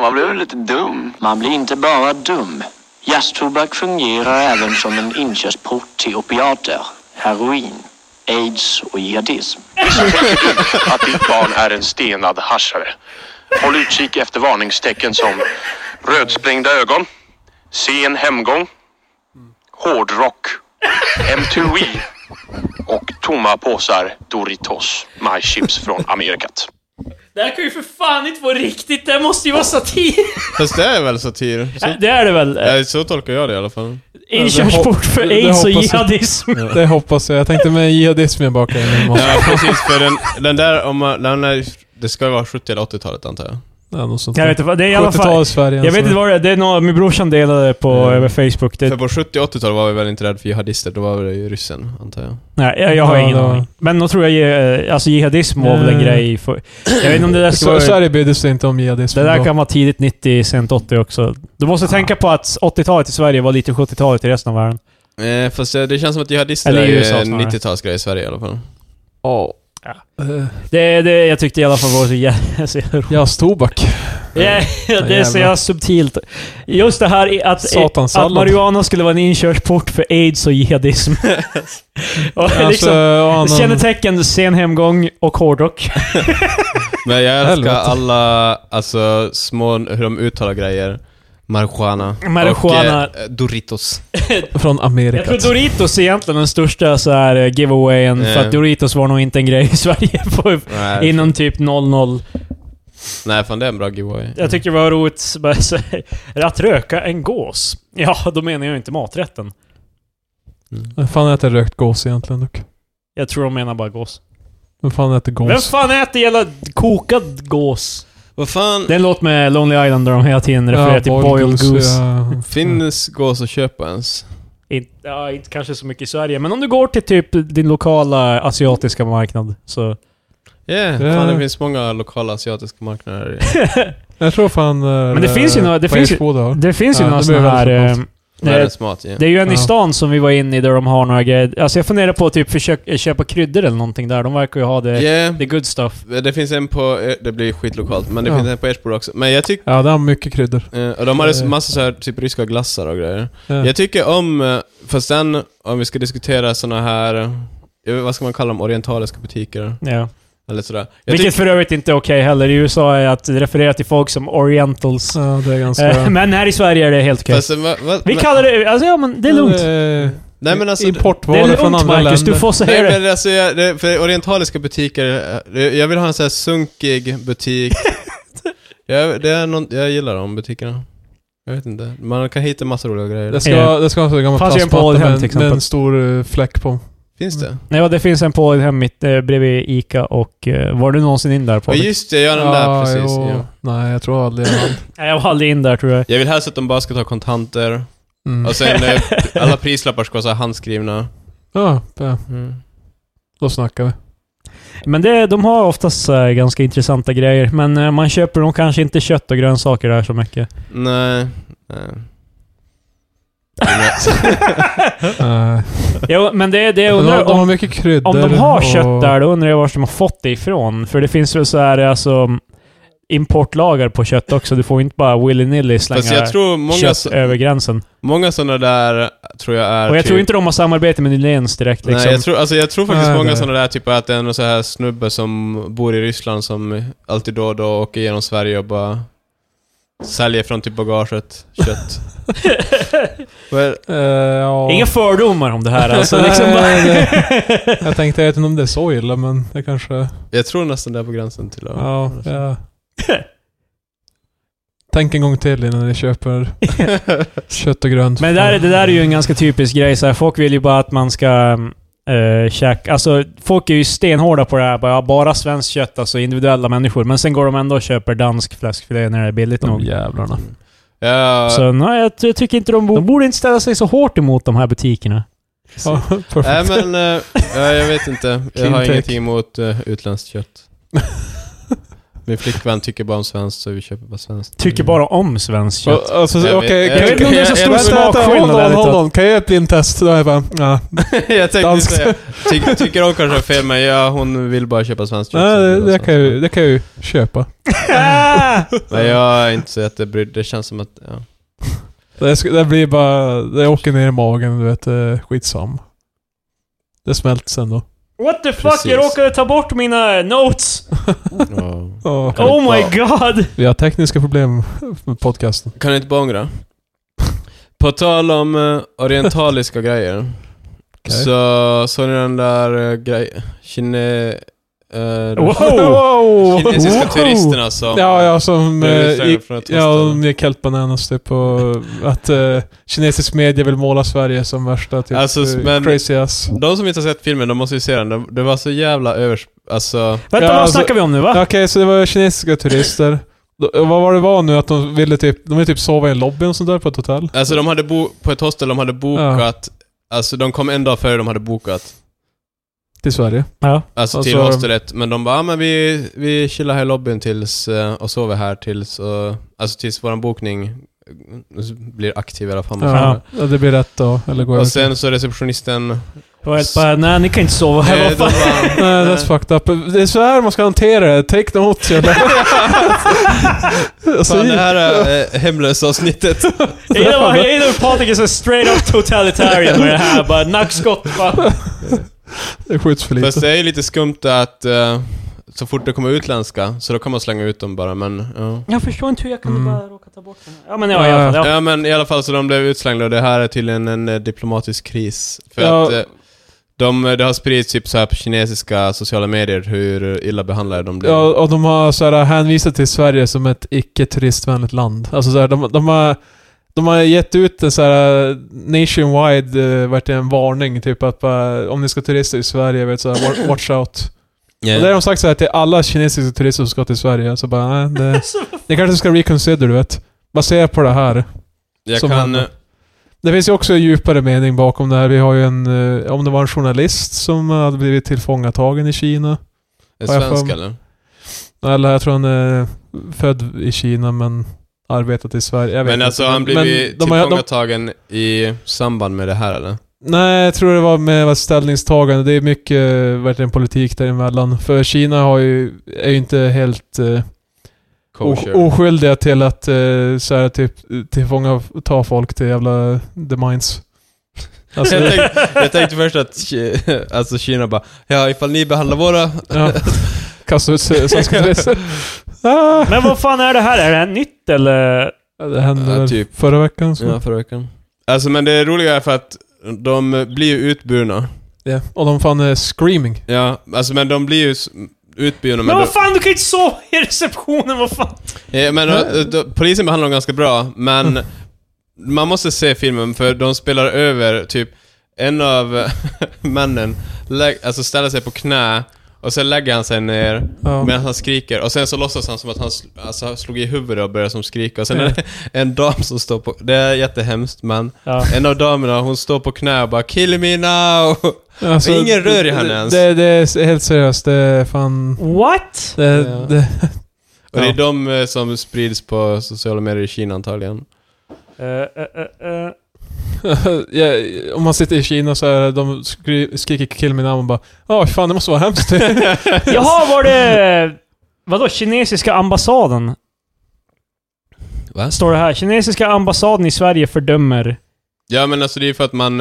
Man blir lite dum. Man blir inte bara dum. Jazztobak fungerar även som en inkörsport till opiater, heroin, aids och jihadism. Att ditt barn är en stenad haschare. Håll utkik efter varningstecken som rödsprängda ögon, sen hemgång, hårdrock, M2E och tomma påsar Doritos My Chips från Amerikat. Det här kan ju för fan inte vara riktigt, det här måste ju vara satir! Fast det är väl satir? Så, Det är det väl? Eh, ja, så tolkar jag det i alla fall. Inkörsport för Eh, det aids och hoppas jag. jihadism. Det hoppas jag. Jag tänkte med jihadism jag bakar in i morgon. Ja, precis. För den, den där, om man, den är, det ska ju vara 70 eller 80-talet antar jag. Ja, något sånt. Jag vet inte, vad- det är i alla fall... 70-tal Sverige. alltså. Jag vet inte vad det är, det är något min brorsan delade på eh, Facebook. För Det, på 70 och 80-talet var vi väl inte rädda för jihadister, då var det ju ryssen, antar jag. nej, jag, jag har Ja, ingen det var- aning. Men då tror jag eh, alltså jihadism var väl en Eh. grej för, Jag vet inte om det där ska Så, vara... Sverige brydde sig inte om jihadism. Det där då. kan vara tidigt 90, sent 80 också. Du måste tänka på att 80-talet i Sverige var lite 70-talet i resten av världen. Eh, fast eh, det känns som att jihadister Eller är i ju USA en snarare. 90-talsgrej i Sverige i alla fall. Eh, Det, det jag tyckte i alla fall var så jävla... så jävla roligt. Jazztobak. Liksom- Ja, det är så jävla subtilt. Just det här i- att, att, Satansallad. att marijuana skulle vara en inkörsport för aids och jihadism. och Alltså, liksom, ja, någon- kännetecken sen hemgång och hårdrock. Men jag älskar Helvete. alla, alltså små, hur de uttalar grejer. Marijuana. Marijuana. Och, eh, Doritos. Från Jag Amerika. tror Doritos är egentligen den största så här eh, giveawayen, för Mm. att Doritos var nog inte en grej i Sverige på, Nej, innan typ 00. nej, fan det är en bra giveaway. Jag tycker det var roligt bara så här, att röka en gås. Ja, då menar jag inte maträtten. Mm. Vem fan äter rökt gås egentligen dock? Jag tror de menar bara gås. Vem fan äter gås? Vem fan äter jävla kokad gås? Vad fan, Det är en låt med Lonely Island där de hela tiden refererar till Boiled Goose. Ja. finns gås att köpa ens? Inte, ja, inte kanske så mycket i Sverige, men om du går till typ din lokala asiatiska marknad så... Ja, yeah, Ja. fan det finns många lokala asiatiska marknader. Jag tror fan... eh, Men det finns ju några- det finns ju- Det finns ju Ja, några det såna blir här... väldigt eh, konstigt. eh, Världens mat, ja. Det är ju en i Ja. stan som vi var inne i där de har några grejer. Alltså jag funderar på att typ försöka köpa kryddor eller någonting där. De verkar ju ha det... Yeah. The good stuff. Det finns en på, eh, det blir skitlokalt, men det Ja. finns en på Ersbro också. Men jag tycker, Ja, det har mycket kryddor. eh, och de hade så- Eh. massa så här, typ ryska glassar och grejer. Ja. Jag tycker om, eh, fast sen om vi ska diskutera såna här, jag vet, vad ska man kalla dem, orientaliska butiker? Ja. Eller sådär. Jag Vilket för övrigt inte är okej heller. I USA är att referera till folk som orientals. Ja, det är ganska... Eh, men här i Sverige är det helt okej. fast, sen, va, va, Vi men- kallar det... Alltså ja, men det är lugnt. Eh, Nej men alltså... Det är Importvaror från lugnt andra Marcus, länder. du får Nej säga det. men alltså, jag, det, för orientaliska butiker, eh, det- jag vill ha en sån här sunkig butik. jag, det är någon, jag gillar de butikerna. Jag vet inte. Man kan hitta massa roliga grejer. Det ska, Ja. det ska vara en gammal Fanns ju en på plastmatta Oldham, med, till en- med exempel. en stor eh, fläck på. Finns det? Nej, ja, det finns en på hem mitt eh, bredvid Ica och... Eh, var du någonsin in där på? Ja just det, jag den där precis. jo. Ja. Nej, jag tror aldrig jag hann. Nej, jag var aldrig in där tror jag. Jag vill helst att de bara ska ta kontanter. mm. Och sen eh, alla prislappar ska vara så här handskrivna. Ja, det- då snackar vi. Men det, de har oftast eh, ganska intressanta grejer. Men eh, man köper nog kanske inte kött och grönsaker där så mycket. Nej. Nej. Nej. Jo, men det, det jag Eh, de, undrar har- de har om, mycket kryddor. om de har och- kött där, då undrar jag var de har fått det ifrån. För det finns väl så här alltså importlagar på kött också. Du får inte bara willy-nilly slänga Fast jag tror många, kött över gränsen. många sådana där tror jag är Och jag typ, tror inte de har samarbete med Nyhléns direkt liksom. Ah, Nej, jag tror, alltså, jag tror faktiskt Nej, många nej. sådana där typ att det är någon så här snubbe som bor i Ryssland som alltid då och då åker genom Sverige och bara säljer från typ bagaget kött. Well, Eh, ja. Inga fördomar om det här alltså. liksom bara... Nej, det- jag tänkte, jag vet inte om det är så illa, men det kanske... jag tror nästan det är på gränsen till att... Ja, ja. Tänk en gång till innan ni köper kött och grönt. Men det där, det där är ju en ganska typisk grej. Så här, folk vill ju bara att man ska äh, käka... Alltså, folk är ju stenhårda på det här. Bara, bara svenskt kött, alltså individuella människor. Men sen går de ändå och köper dansk fläskfilé när det är billigt nog. De jävlarna. Ja, Så nej, jag, jag tycker inte de, bo- de borde inte ställa sig så hårt emot de här butikerna. Ja, Nej perfekt. men, eh, ja, jag vet inte. Jag Clean har take. ingenting emot eh, utländskt kött. Min flickvän tycker bara om svenskt så vi köper bara svenskt. Tycker bara om svenskt kött. Och- Alltså, Jag okej, vet- okay, eh, jag vet inte om det är så stor smakskillnad Hold on, ärligt hold talat. on. Kan jag göra ett blindtest? Då är jag bara, ja. jag tänkte Danskt. säga, ty, tycker hon kanske är fel men ja, hon vill bara köpa svenskt kött. alltså. Nej, så det, bara det, kan jag, ju- det kan jag ju köpa. svenskt. Men jag är inte så jättebrydd. Det känns som att, ja. Det, sk- det blir bara... Det åker ner i magen, du vet. eh, Skitsam. Det smälter sen då. What the fuck? Precis. Jag råkade ta bort mina notes! Ja. Ja. Kan Oh inte my ta- god! Vi har tekniska problem med podcasten. Kan du inte bara ångra? På tal om eh, orientaliska grejer. Okej. Så såg ni den där eh, grej... Kine... eh, Wow! Wow! kinesiska Wow! turisterna som... Ja, ja, som... Blev eh, utslängda gick- från ett Ja, hostel. de gick helt bananas typ och att eh, kinesisk media vill måla Sverige som värsta typ Alltså, eh, men- Ah! crazy ass. De som inte har sett filmen, de måste ju se den. Det- Det var så jävla övers... Alltså... Vänta, Ja, vad alltså- snackar vi om nu va? Okej, så det var kinesiska turister. Då- Vad var det var nu? Att de ville typ, de ville typ sova i en lobby och sånt där på ett hotell? Alltså de hade bo på ett hostel, de hade bokat... Alltså de kom en dag före de hade bokat. Till Sverige. Ja. Alltså, Alltså, till hostelet. Men de bara, ah, men vi, vi chillar här i lobbyn tills... eh, Och sover här tills... Och, alltså tills våran bokning eh, blir aktiv i alla fall. Ja, ja, det blir rätt då. Eller går Och jag sen så receptionisten... Det var helt bara, nej ni kan inte sova här. Nej, vad de fan? bara, Nej, that's fucked up. Det är så här man ska hantera det. Take notes jävlar. alltså, Fan, det här är eh, hemlösa-avsnittet. Hej då, hej då, Patrik är så straight up totalitarian med det här. Bara nackskott. Bara. det skjuts för Fast lite. det är ju lite skumt att eh, så fort det kommer utländska, så då kan man slänga ut dem bara, men ja. Jag förstår inte hur jag kunde Mm. bara råka ta bort den här. Ja men ja, i alla fall. Ja. Ja men i alla fall så de blev utslängda och det här är tydligen en eh, diplomatisk kris. För Ja. att eh, de, det har spridits typ så här på kinesiska sociala medier hur illa behandlade de blev. Ja, och de har så här hänvisat till Sverige som ett icke turistvänligt land. Alltså så här, de, de har... De har gett ut en så här eh, nationwide, eh, vart det en varning typ att bara, om ni ska turista i Sverige, vet så här, wa- watch out. Ja. Och det har de sagt så här till alla kinesiska turister som ska till Sverige, så bara, nej, det, ni kanske ska reconsider, du vet. Baserat på det här. Jag som kan... eh, hände. Det finns ju också en djupare mening bakom det här. Vi har ju en, eh, om det var en journalist som hade blivit tillfångatagen i Kina. Är Har jag svensk för- eller? Eller jag tror han är född i Kina men arbetat i Sverige. Jag vet Men alltså inte. han blev ju de har- de, tillfångatagen i samband med det här eller? Nej, jag tror det var med vad ställningstagande. Det är mycket eh, verkligen politik däremellan. För Kina har ju, är ju inte helt eh, Kosher. o- oskyldiga till att eh, så här, typ, tillfånga, ta folk till jävla the mines. Alltså, jag, tänkte, jag tänkte först att Ki- alltså Kina bara Ja, ifall ni behandlar våra... ja. Kasta ut svenska turister. Ah! Men vad fan är det här? Är det här nytt eller? Ja, Det hände Ja, väl typ. förra veckan. Så. Ja, förra veckan. Alltså men det roliga är för att de blir ju utburna. Ja. Och de fan är screaming. Ja, alltså men de blir ju s- utburna Men men, vad fan, du kan ju inte sova i receptionen, vad fan? de, ja, men eh, de, polisen behandlar dem ganska bra, men man måste se filmen för de spelar över typ en av männen, lä- alltså ställer sig på knä och sen lägger han sig ner Ja. medan han skriker och sen så låtsas han som att han sl- alltså, slog i huvudet och börjar som skrika och sen Ja. är det en dam som står på... Det är jättehemskt men Ja. en av damerna hon står på knä och bara 'Kill me now' Alltså, Men ingen rör i henne det- ens. Det, det är helt seriöst. Det är fan... What? Det, Ja. det, Och Ja. det är de eh, som sprids på sociala medier i Kina antagligen. Eh, eh, eh, eh. ja, om man sitter i Kina så är det- de skri, skriker 'kill me now' och bara Ja, fan det måste vara hemskt. Jaha, var det... Vadå, kinesiska ambassaden? Va? Står det här. Kinesiska ambassaden i Sverige fördömer... Ja men alltså det är ju för att man,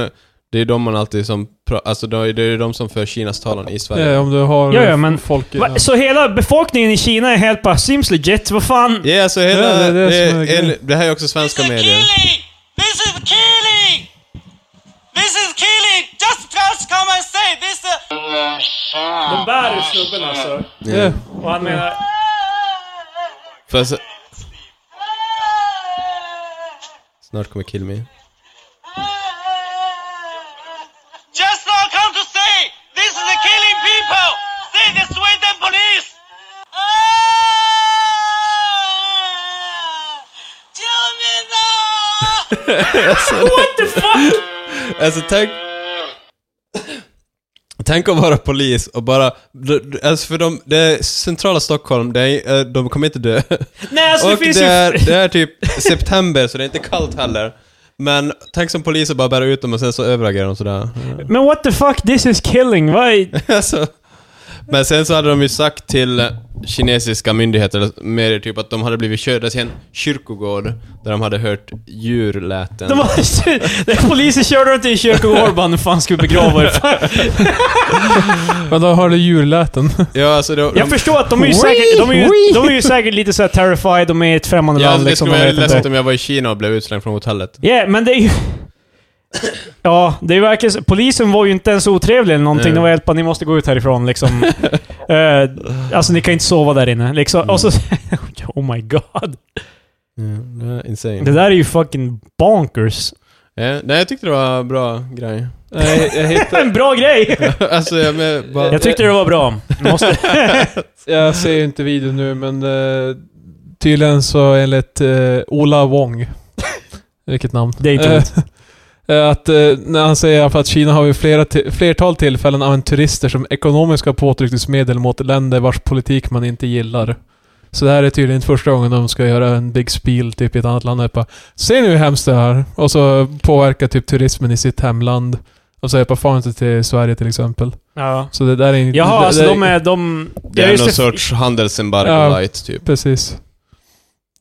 det är de man alltid som, pra- alltså det är det är de som för Kinas talan i Sverige. ja, Eh, om du har Ja, ja, men- folk... Va? Så hela befolkningen i Kina är helt bara seems legit, vad fan? Ja, alltså hela, Ja, det är det, det som är är- grejen. det här är också svenska medier. Keeling! This is Keeling! This is Keeling! Just, just come and say this is... De bär snubben alltså. Ja. Och han menar... För så, snart kommer Kill Me. Just now come to say this is killing people! Say the Sweden police! Tell me now! Alltså tänk... Tänk att vara polis och bara... d- d- Alltså för de, det är centrala Stockholm, det är, eh, de kommer inte dö. Nej, alltså det och finns det är, ju... det är typ september så det är inte kallt heller. Men tänk som polis och bara bära ut dem och sen så överagerar de sådär. Men what the fuck, this is killing. Vad är... alltså. Men sen så hade de ju sagt till kinesiska myndigheter mer typ att de hade blivit körda till en kyrkogård där de hade hört djurläten. De var- det är Polisen körde runt i en kyrkogård och bara, nu fan ska vi begrava er? Fan. Men då hörde djurläten. Ja, alltså de, Jag de, förstår att de är ju säkert, de är ju, de är ju säkert lite såhär terrified, de är i ett främmande ja, land det liksom. skulle man vara vet inte. läskigt om jag var i Kina och blev utslängd från hotellet. Ja, men det är ju... Ja, det är ju verkligen så- Polisen var ju inte ens otrevlig eller någonting. Nej. De var helt bara, ni måste gå ut härifrån liksom. eh, alltså ni kan inte sova där inne. Liksom. Och så... oh my god. Ja, insane. Det där är ju fucking bonkers. Ja, nej, jag tyckte det var en bra grej. Nej, jag, hittar, En bra grej! alltså, jag, men, bara, Jag tyckte det var bra. Måste... jag ser ju inte videon nu, men eh, tydligen så enligt eh, Ola Wong. Vilket namn. Det är inte roligt. Eh, att eh, när han säger i alla fall att Kina har vid flera ti- flertal tillfällen använt turister som ekonomiska påtryckningsmedel mot länder vars politik man inte gillar. Så det här är tydligen inte första gången de ska göra en big spiel typ i ett annat land. Och Bara, Ser ni hur hemskt det är? Och så påverkar typ turismen i sitt hemland. Och så är det bara, fan inte till Sverige till exempel. Ja. Så det där är inte... Jaha, det, alltså det, de är... De... det Ja, är just någon det. sorts handelsembargo Ja. light, typ. Precis.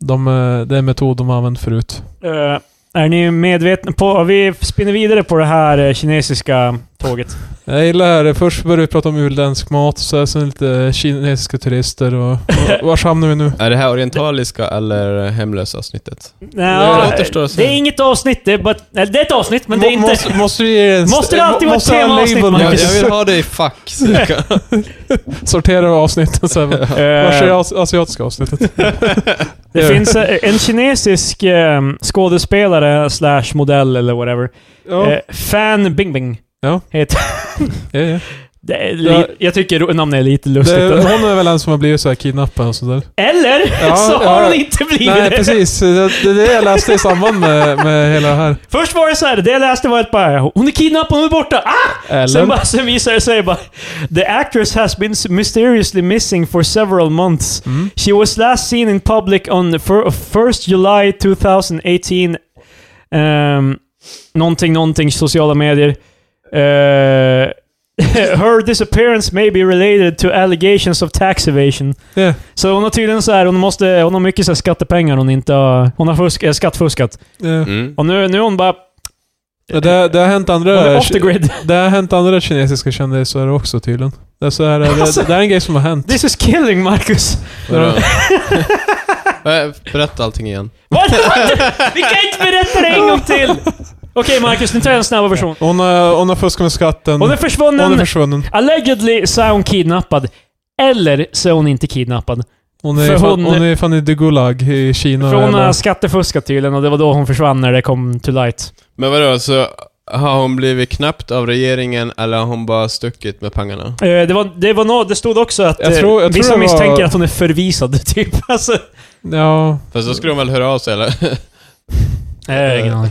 De, eh, det är en metod de har använt förut. Eh, är ni medvetna på... Vi spinner vidare på det här eh, kinesiska tåget. Jag gillar det. Först började vi prata om utländsk mat, så sen lite kinesiska turister och... och Vars hamnar vi nu? Är det här orientaliska eller hemlösa avsnittet? Nja, Det återstår att se. det är inget avsnitt, det är, bara, eller, det är ett avsnitt, men det är Må- Måste, inte... måste du ge en... Måste det alltid vara måste ett ha en temaavsnitt, label? Jag, Marcus? jag vill ha det i fack. så jag kan- Sortera avsnitten sen. Vars Eh, är det as- asiatiska avsnittet? det finns eh, en kinesisk eh, skådespelare slash modell eller whatever. Ja. Eh, Fan Bingbing. Ja. Heter. Ja, ja. Det är li- Ja. Jag tycker ro- namnet är lite Det, lustigt. är- hon är väl en som har blivit så här kidnappad och sådär. Eller Ja, så har ja. hon inte blivit Nej, det. precis. Det det är det jag läste i samband med, med hela det här. Först var det så här, det jag läste var ett bara “Hon är kidnappad, hon är borta!” ah! Eller? Sen, bara, sen visar det sig bara “The actress has been mysteriously missing for several months. She was last seen in public on the fir- 1st July 2018” um, Någonting, någonting, sociala medier. Eh, her disappearance may be related to allegations of tax evasion. Ja. Så hon har tydligen så här, hon, måste, hon har mycket så här skattepengar hon inte har... Hon har fusk, eh, skattfuskat. ja. Mm. Och nu, nu är hon bara... Ja, Det, det har hänt Hon är andra... off the grid. Det har hänt andra kinesiska kändisar också tydligen. Det är, så här, Alltså. det, det är en grej som har hänt. This is killing, Marcus! Vadå? Eh, Berätta allting igen. Vad? Vi kan inte berätta det en gång till! Okej Marcus, nu tar jag en snabb version. Hon har, hon har fuskat med skatten. Hon är Hon är försvunnen. försvunnen. Allegedly så är hon kidnappad. Eller så är hon inte kidnappad. Hon är, För fan, hon- hon... är fan i The Gulag i Kina. För hon eller- har skattefuskat tydligen och det var då hon försvann när det kom to light. Men vadå, så har hon blivit knäppt av regeringen eller har hon bara stuckit med pengarna? Eh, Det, var, det, var nå- det stod också att Jag eh, tror- jag tror vissa det var- misstänker att hon är förvisad, typ. Alltså, Ja. Fast då skulle hon väl höra av sig eller? nej, ingen aning.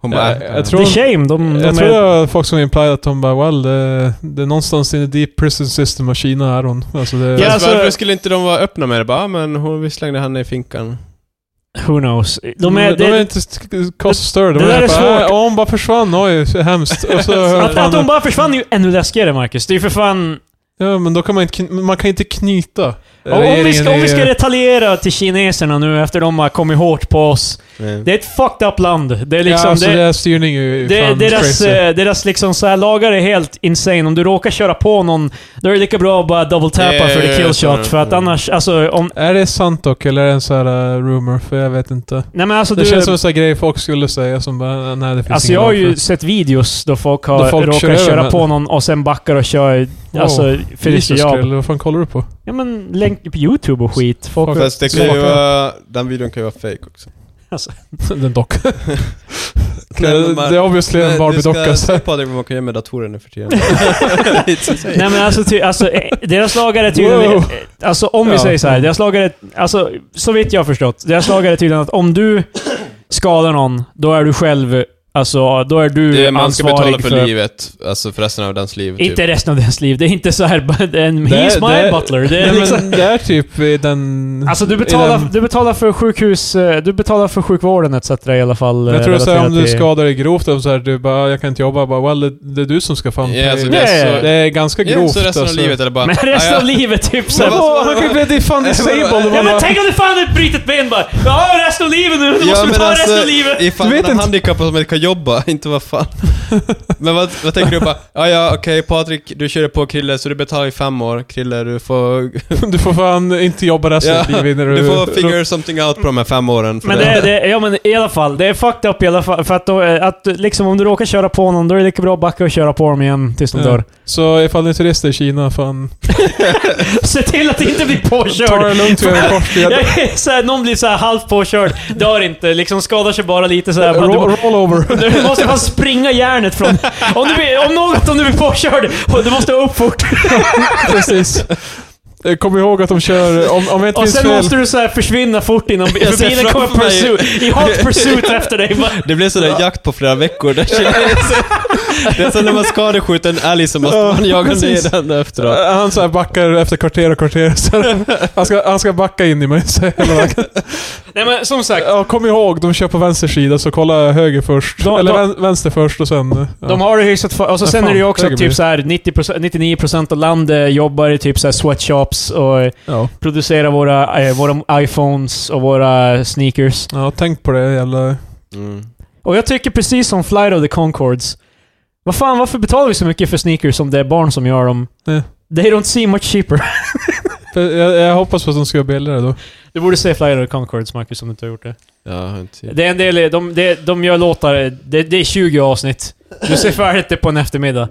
Hon bara... "Mm." Jag, jag eh, Det tror, är shame. Mm, De, de jag tror det är, var folk som implied att hon bara well, det, det är någonstans in the deep prison system av Kina är hon. Alltså det, Fast Ja, alltså- varför skulle inte de vara öppna med det? Bara, "Ah, men hon, vi slängde henne i finkan. who knows. De är, Mm, de är det, inte st- cause stir. De Det där bara, är svårt. "Äh, hon bara försvann, oj, så hemskt. Och så hör att, fan- att hon bara försvann är ju ännu läskigare, Marcus. Det är ju för fan... Ja, men då kan man inte, kn- man kan inte knyta Om om vi, ska, om vi ska i- detaljera till kineserna nu efter de har kommit hårt på oss. Mm. Det är ett fucked up land. Det är liksom... ja, alltså det, deras styrning är ju det, fan deras crazy. eh, deras liksom så här lagar är helt insane. Om du råkar köra på någon, då är det lika bra att bara double-tappa Ja, ja, för the ja, kill jag tror shot. det. För att Mm. annars, alltså om... Är det sant dock, eller är det en sån här eh, rumor? För jag vet inte. Nej men alltså Det du... känns som en sån här grej folk skulle säga som bara, nej det finns Alltså ingen jag har grund för ju det. sett videos då folk har Då folk råkar kör över köra med- på någon och sen backar och kör... Alltså, för det är så Jesus jag... Krill, vad fan kollar du på? Ja men länkar på YouTube och skit. Folk... Fuck. Fast det kan ju vara... Den videon kan ju vara fake också. Den dock. Nej, det, men man- det är obviously en Nej, Barbie-docka. Du så ska se här. på det vad man kan göra med datorer nu för tiden. It's insane. Nej men alltså, ty, alltså eh, deras lagar är tydligen... Wow. eh, Alltså om vi Ja. säger så här, deras lagar är... Alltså, så vitt jag har förstått, deras lagar är tydligen att om du skadar någon, då är du själv Alltså, då är du Det är, man ska ansvarig betala för, livet, alltså för resten av dens liv. Typ. Inte resten av deras liv. Det är inte så här bara, en, Det är- he's my det är- butler. Det är Nej, liksom, men Ehm. det är typ i den... alltså du i betalar, den- du betalar för sjukhus... eh, Du betalar för sjukvården etc. i alla fall. Men eh, jag tror såhär, relaterat om du till- skadar dig grovt, och så här, du bara jag kan inte jobba, bara well, det, det är du som ska fan Ja, alltså, pay- det Yeah. är så, Det är ganska Ja, grovt så resten av alltså. livet eller bara... Men resten "Ah, av livet typ Så såhär... här, Åh, han kan bli det är fan disabled! Och Ja man men bara, tänk om du fan har brutit ett ben bara! Ja, resten av livet nu! Du Ja, måste men betala alltså, resten av livet! Ifall Du man vet är inte. handikappad som inte kan jobba, inte vad fan. Men vad, vad tänker du bara, ja ja okej Patrik, du körde på Krille så du betalar i fem år. Krille, du får... Du får fan inte jobba resten Ja, av livet när du... du får figure something out på de här fem åren. för Men det, det. är- det, är- ja men i alla fall, det är fucked up i alla fall. För att, då, eh, att liksom om du råkar köra på någon, då är det lika bra att backa och köra på dem igen tills de Ja. dör. Så ifall ni är turister i Kina, fan... Se till att inte bli Ta det påkörd! lugnt över korsled. Jag är såhär, någon blir såhär halvt påkörd, dör inte, liksom skadar sig bara lite såhär. Bara, du, Roll, roll over. du måste fan springa järnet från... Om, du blir, om något, om du blir påkörd, och du måste upp fort. Precis. Eh, Kom ihåg att de kör, om, om jag inte Och minns sen fel... måste du såhär försvinna fort innan bi- Jag för ser bilen kommer framför mig- pursuit, i hot pursuit efter dig. Bara, Det blir sådär jakt på flera veckor. Där känner- det är som när man skadeskjuter en älg så måste Ja, man jaga precis. ner den efteråt. Eh, Han så här backar efter kvarter och kvarter. Så här, han, ska, han ska backa in i mig. Så här, hela vägen. Nej men som sagt, ja, kom ihåg, de kör på vänster sida, så kolla höger först. De- Eller de- vän, vänster först och sen... eh, Ja. De har det hyfsat för, Och så Ja, sen fan, är det ju också säkert blir typ det. så här 90%, 99% av landet jobbar i typ så här sweatshops och eh, ja. producerar våra, eh, våra iPhones och våra sneakers. ja, tänk på det jävla... Mm. Och jag tycker precis som Flight of the Concords. Vad fan, varför betalar vi så mycket för sneakers om det är barn som gör dem? Ja. They don't seem much cheaper. Jag, jag hoppas på att de ska göra billigare då. Du borde se Flight of the Concords, Marcus, om du inte har gjort det. Ja, jag har inte- Det är en del, de, de, de gör låtar, det, det är 20 avsnitt. Du ser färdigt det på en eftermiddag.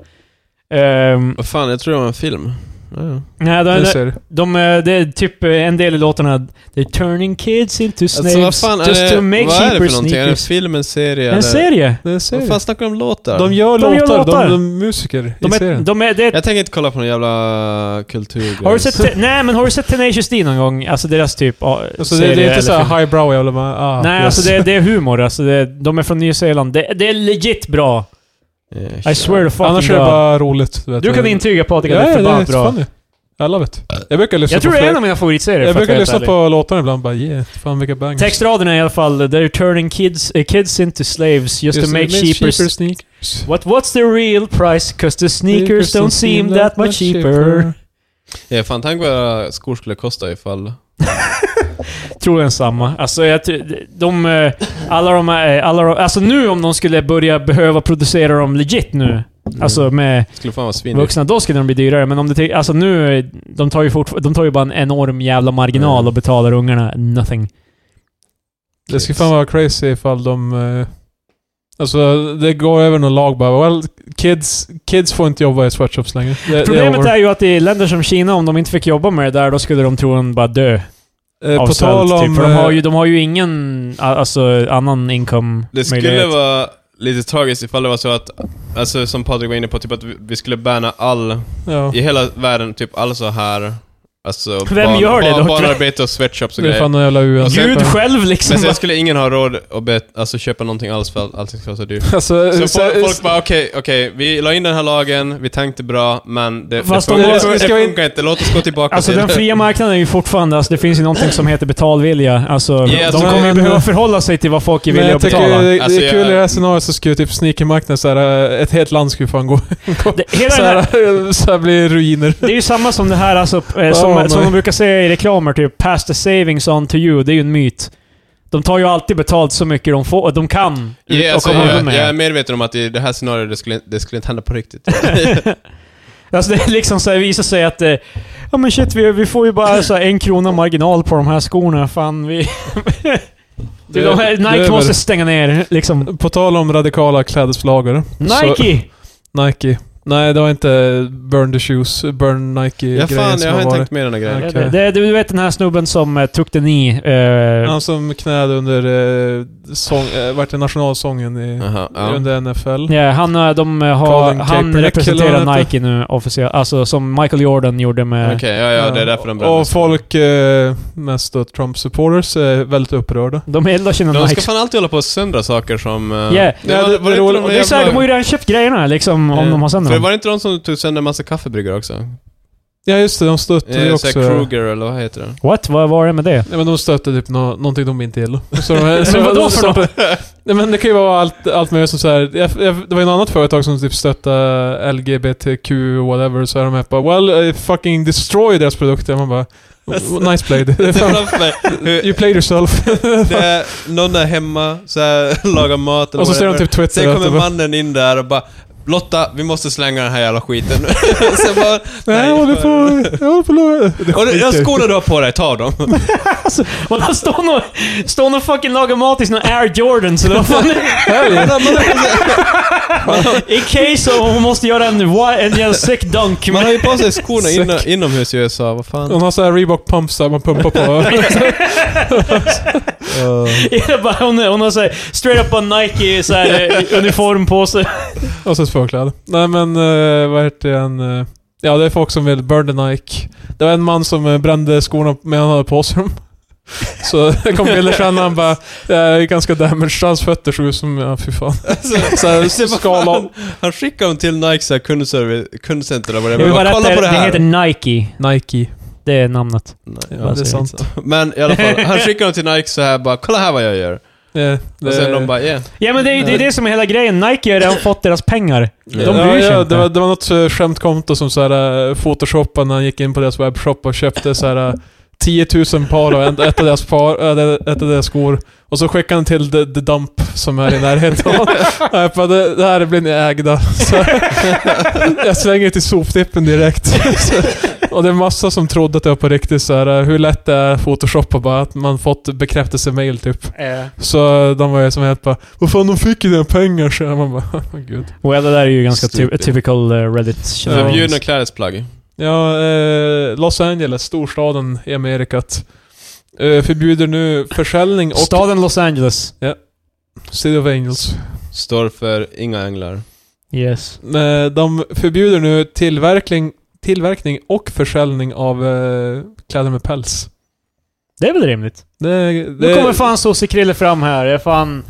Ehm, Vad fan, jag tror det var en film. Ja, Alltså, ja. nej, de, Det ser. De, eh, det är typ eh, en del i låtarna They're turning kids into snaves Alltså vad fan just är det, to make vad är det cheaper för någonting? Är det en sneakers. film, en serie? En serie? Det Vad ser. fan snackar de om låtar? De gör De låtar, gör låtar. De, de är musiker De i är, serien. de är, det är, Jag tänker inte kolla på någon jävla kultur. har du sett... Te- Nej, men har du sett Tenacious D någon gång? Alltså deras typ ah, Alltså, serie det, det är eller inte såhär film. highbrow jävla... man, Ah, Nej, yes. alltså det, är- det är humor. Alltså det, är- de är från Nya Zeeland. Det, det är legit bra. I swear to fucking Annars är det God. bara roligt. Vet Du kan intyga Patrik att det är förbannat bra. jättefunny. I love it. Jag brukar lyssna Jag tror på det är en fler- av mina favoritserier Jag för att brukar vara lyssna helt ärlig. på låtarna ibland bara yeah, fan vilka bangers. Textraderna i alla fall. They're turning kids, eh, kids into slaves just, to make cheaper, cheaper sneakers. What what's the real price? Cause the sneakers don't seem that much cheaper. Ja, fan tänk vad skor skulle kosta ifall... Tror en samma. Alltså jag tror- de, eh, alla de, här- alla de, alltså nu om de skulle börja behöva producera dem legit nu. Alltså med Skulle fan vara svindyrt. vuxna, då skulle de bli dyrare. Men om det, till- alltså nu, eh, de tar ju fortfar- de tar ju bara en enorm jävla marginal och betalar ungarna nothing. Det skulle fan vara crazy ifall de... eh, alltså det går över någon lag bara well, kids, kids får inte jobba i sweatshops längre. Det, Problemet det är är, ju att i länder som Kina, om de inte fick jobba med det där, då skulle de troligen bara dö over. Eh, av På tal svält. om... Typ. För de har, eh, ju, de har ju ingen a- alltså, annan income Det skulle vara lite tragiskt ifall det var så att, alltså som Patrik var inne på, typ att vi- vi skulle banna all, ja, i hela världen, typ all så här, alltså... Vem gör det dock? Barnarbete och sweatshops och det är grejer. fan någon jävla UN. Gud själv liksom. Men sen skulle ingen ha råd att be, alltså, köpa någonting alls för att allting ska vara så dyrt. Alltså, Så så- folk, folk bara okej, okej, vi la in den här lagen, vi tänkte bra, men det, det, Fast funkar, om- det, ska vi- funkar, ska vi- inte. Låt oss gå tillbaka Alltså till den fria marknaden är ju fortfarande, alltså, det finns ju någonting som heter betalvilja. Alltså, Ja, de så- kommer ju men- behöva förhålla sig till vad folk är men villiga att jag tycker det, betala. det Alltså, är kul i det här jag- scenariot så skulle typ sneakermarknaden såhär, ett helt land skulle fan gå... Det, hela Så den här, här, så här blir ruiner. det är ju samma som det här alltså, eh, som, Ja, som nej. de brukar säga i reklamer, typ “Pass the savings on to you”. Det är ju en myt. De tar ju alltid betalt så mycket de, får, de kan. Ja, och alltså, komma jag, undan med. jag är medveten om att i det här scenariot, det skulle, det skulle inte hända på riktigt. Alltså det är liksom så här, visar sig att eh, ja men shit, vi, vi får ju bara så här, en krona marginal på de här skorna. Fan, vi... Du, de här, Det- det Nike är måste väl- stänga ner liksom. På tal om radikala klädeslagar. Nike! Så, Nike. Nej, det var inte Burn the Shoes, Burn Ja, Nike-grejen fan, som jag har inte varit. tänkt med den här grejen. Okej. Det, det, du vet den här snubben som eh, tog den i... eh, Han som knäde under eh, sång, eh, vart det nationalsången i, Aha, ja. under NFL. Ja, han, eh, de eh, har, Colin han Kaepernick, eller vad han representerar heter. Nike nu officiellt. Alltså som Michael Jordan gjorde med... Okej, ja, ja, det är därför den Och brändes. folk, eh, mest då Trump-supporters, är väldigt upprörda. De eldar sina De ska Nikes. fan alltid hålla på och söndra saker som... eh, Yeah. Det Ja, var, det- var det det, roliga- inte Och de det är så här, de har jävla... ju redan köpt grejerna liksom, om Eh, de har sänder För dem. var det inte de som tog sönder en massa kaffebryggare också? Ja just det, de stötte ju Eh, så här också... Kruger eller vad heter det? What? Vad var det med det? Nej men de stötte typ nå någonting de inte gillade. Så de, Men vadå så- för något? Nej men det kan ju vara allt, allt möjligt som så här. Jag, jag, det var ju något annat företag som typ stöttade LGBTQ whatever, så är de här bara “Well, I fucking destroy deras produkter”. Man bara "Oh, “Nice played”. Det är Det är fan- framför mig. you played yourself. Det är någon där hemma, så här, lagar mat eller Och så ser de whatever. typ Twitter Sen att kommer de bara- mannen in där och bara Lotta, vi måste slänga den här jävla skiten. Sen bara, Nej, jag håller på... Jag håller på att Och det- skiter ja, jag i. skorna du har på dig, ta dem. Och de står nog står nog fucking lagar mat i sina Air Jordans eller vad fan I case of hon måste göra en, wi- en jävla sick dunk. Man har ju på sig skorna Säck. inom, inomhus i USA, vad fan. De har såhär Reebok pumps där man pumpar på. Ja, bara, hon, hon har såhär straight up en Nike så här, eh, uniform på sig. Och så ett förkläde. Nej men, eh, vad heter den? eh, ja, det är folk som vill burn the Nike. Det var en man som eh, brände skorna medan han hade på sig dem. Så det kom bilder sen när han bara... Det är ganska damaged. Hans fötter såg ut som... Ja, fy fan. Så här, skal av. Han skickade dem till Nike så här, kundservice, kundcenter eller vad det Jag är. vill Bara, bara Kolla rätta på er, det den här. heter Nike. Nike. Det är namnet. Nej, Ja, bara det är säger sant. Men i alla fall, han skickade dem till Nike så här bara, kolla här vad jag gör. Eh, Och sen de det- bara, yeah. Ja men det är ju det, är det som är hela grejen. Nike har redan fått deras pengar. De Ja, bryr sig ja, inte. det, var, det var något eh, skämtkonto som så här, eh, photoshopade när han gick in på deras webbshop och köpte så här, eh, 10 000 par av en- ett av deras, par, äh, det- ett av deras skor. Och så skickade han till The, the Dump som är i närheten. av honom. Jag bara, det, det här blir ni ägda. Så, jag slänger till soptippen direkt. Så, och det är massa som trodde att det var på riktigt. Så här, eh, hur lätt det är att photoshoppa bara. Att man fått bekräftelse-mail typ. Eh, Så de var ju som helt bara Vad fan, de fick ju dina pengar. Så här, man bara, oh, gud. well, det där är ju ganska ty Stupid. typical eh, reddit Ja. Förbjudna klädesplagg. Ja, eh, Los Angeles, storstaden i Amerikat, eh, förbjuder nu försäljning och... Staden Los Angeles. City of Angels. Står för inga änglar. Yes. Eh, de förbjuder nu tillverkning, tillverkning och försäljning av eh, kläder med päls. Det är väl rimligt? Det, Nu det, kommer fan Sosie Krille fram här. Jag är fan...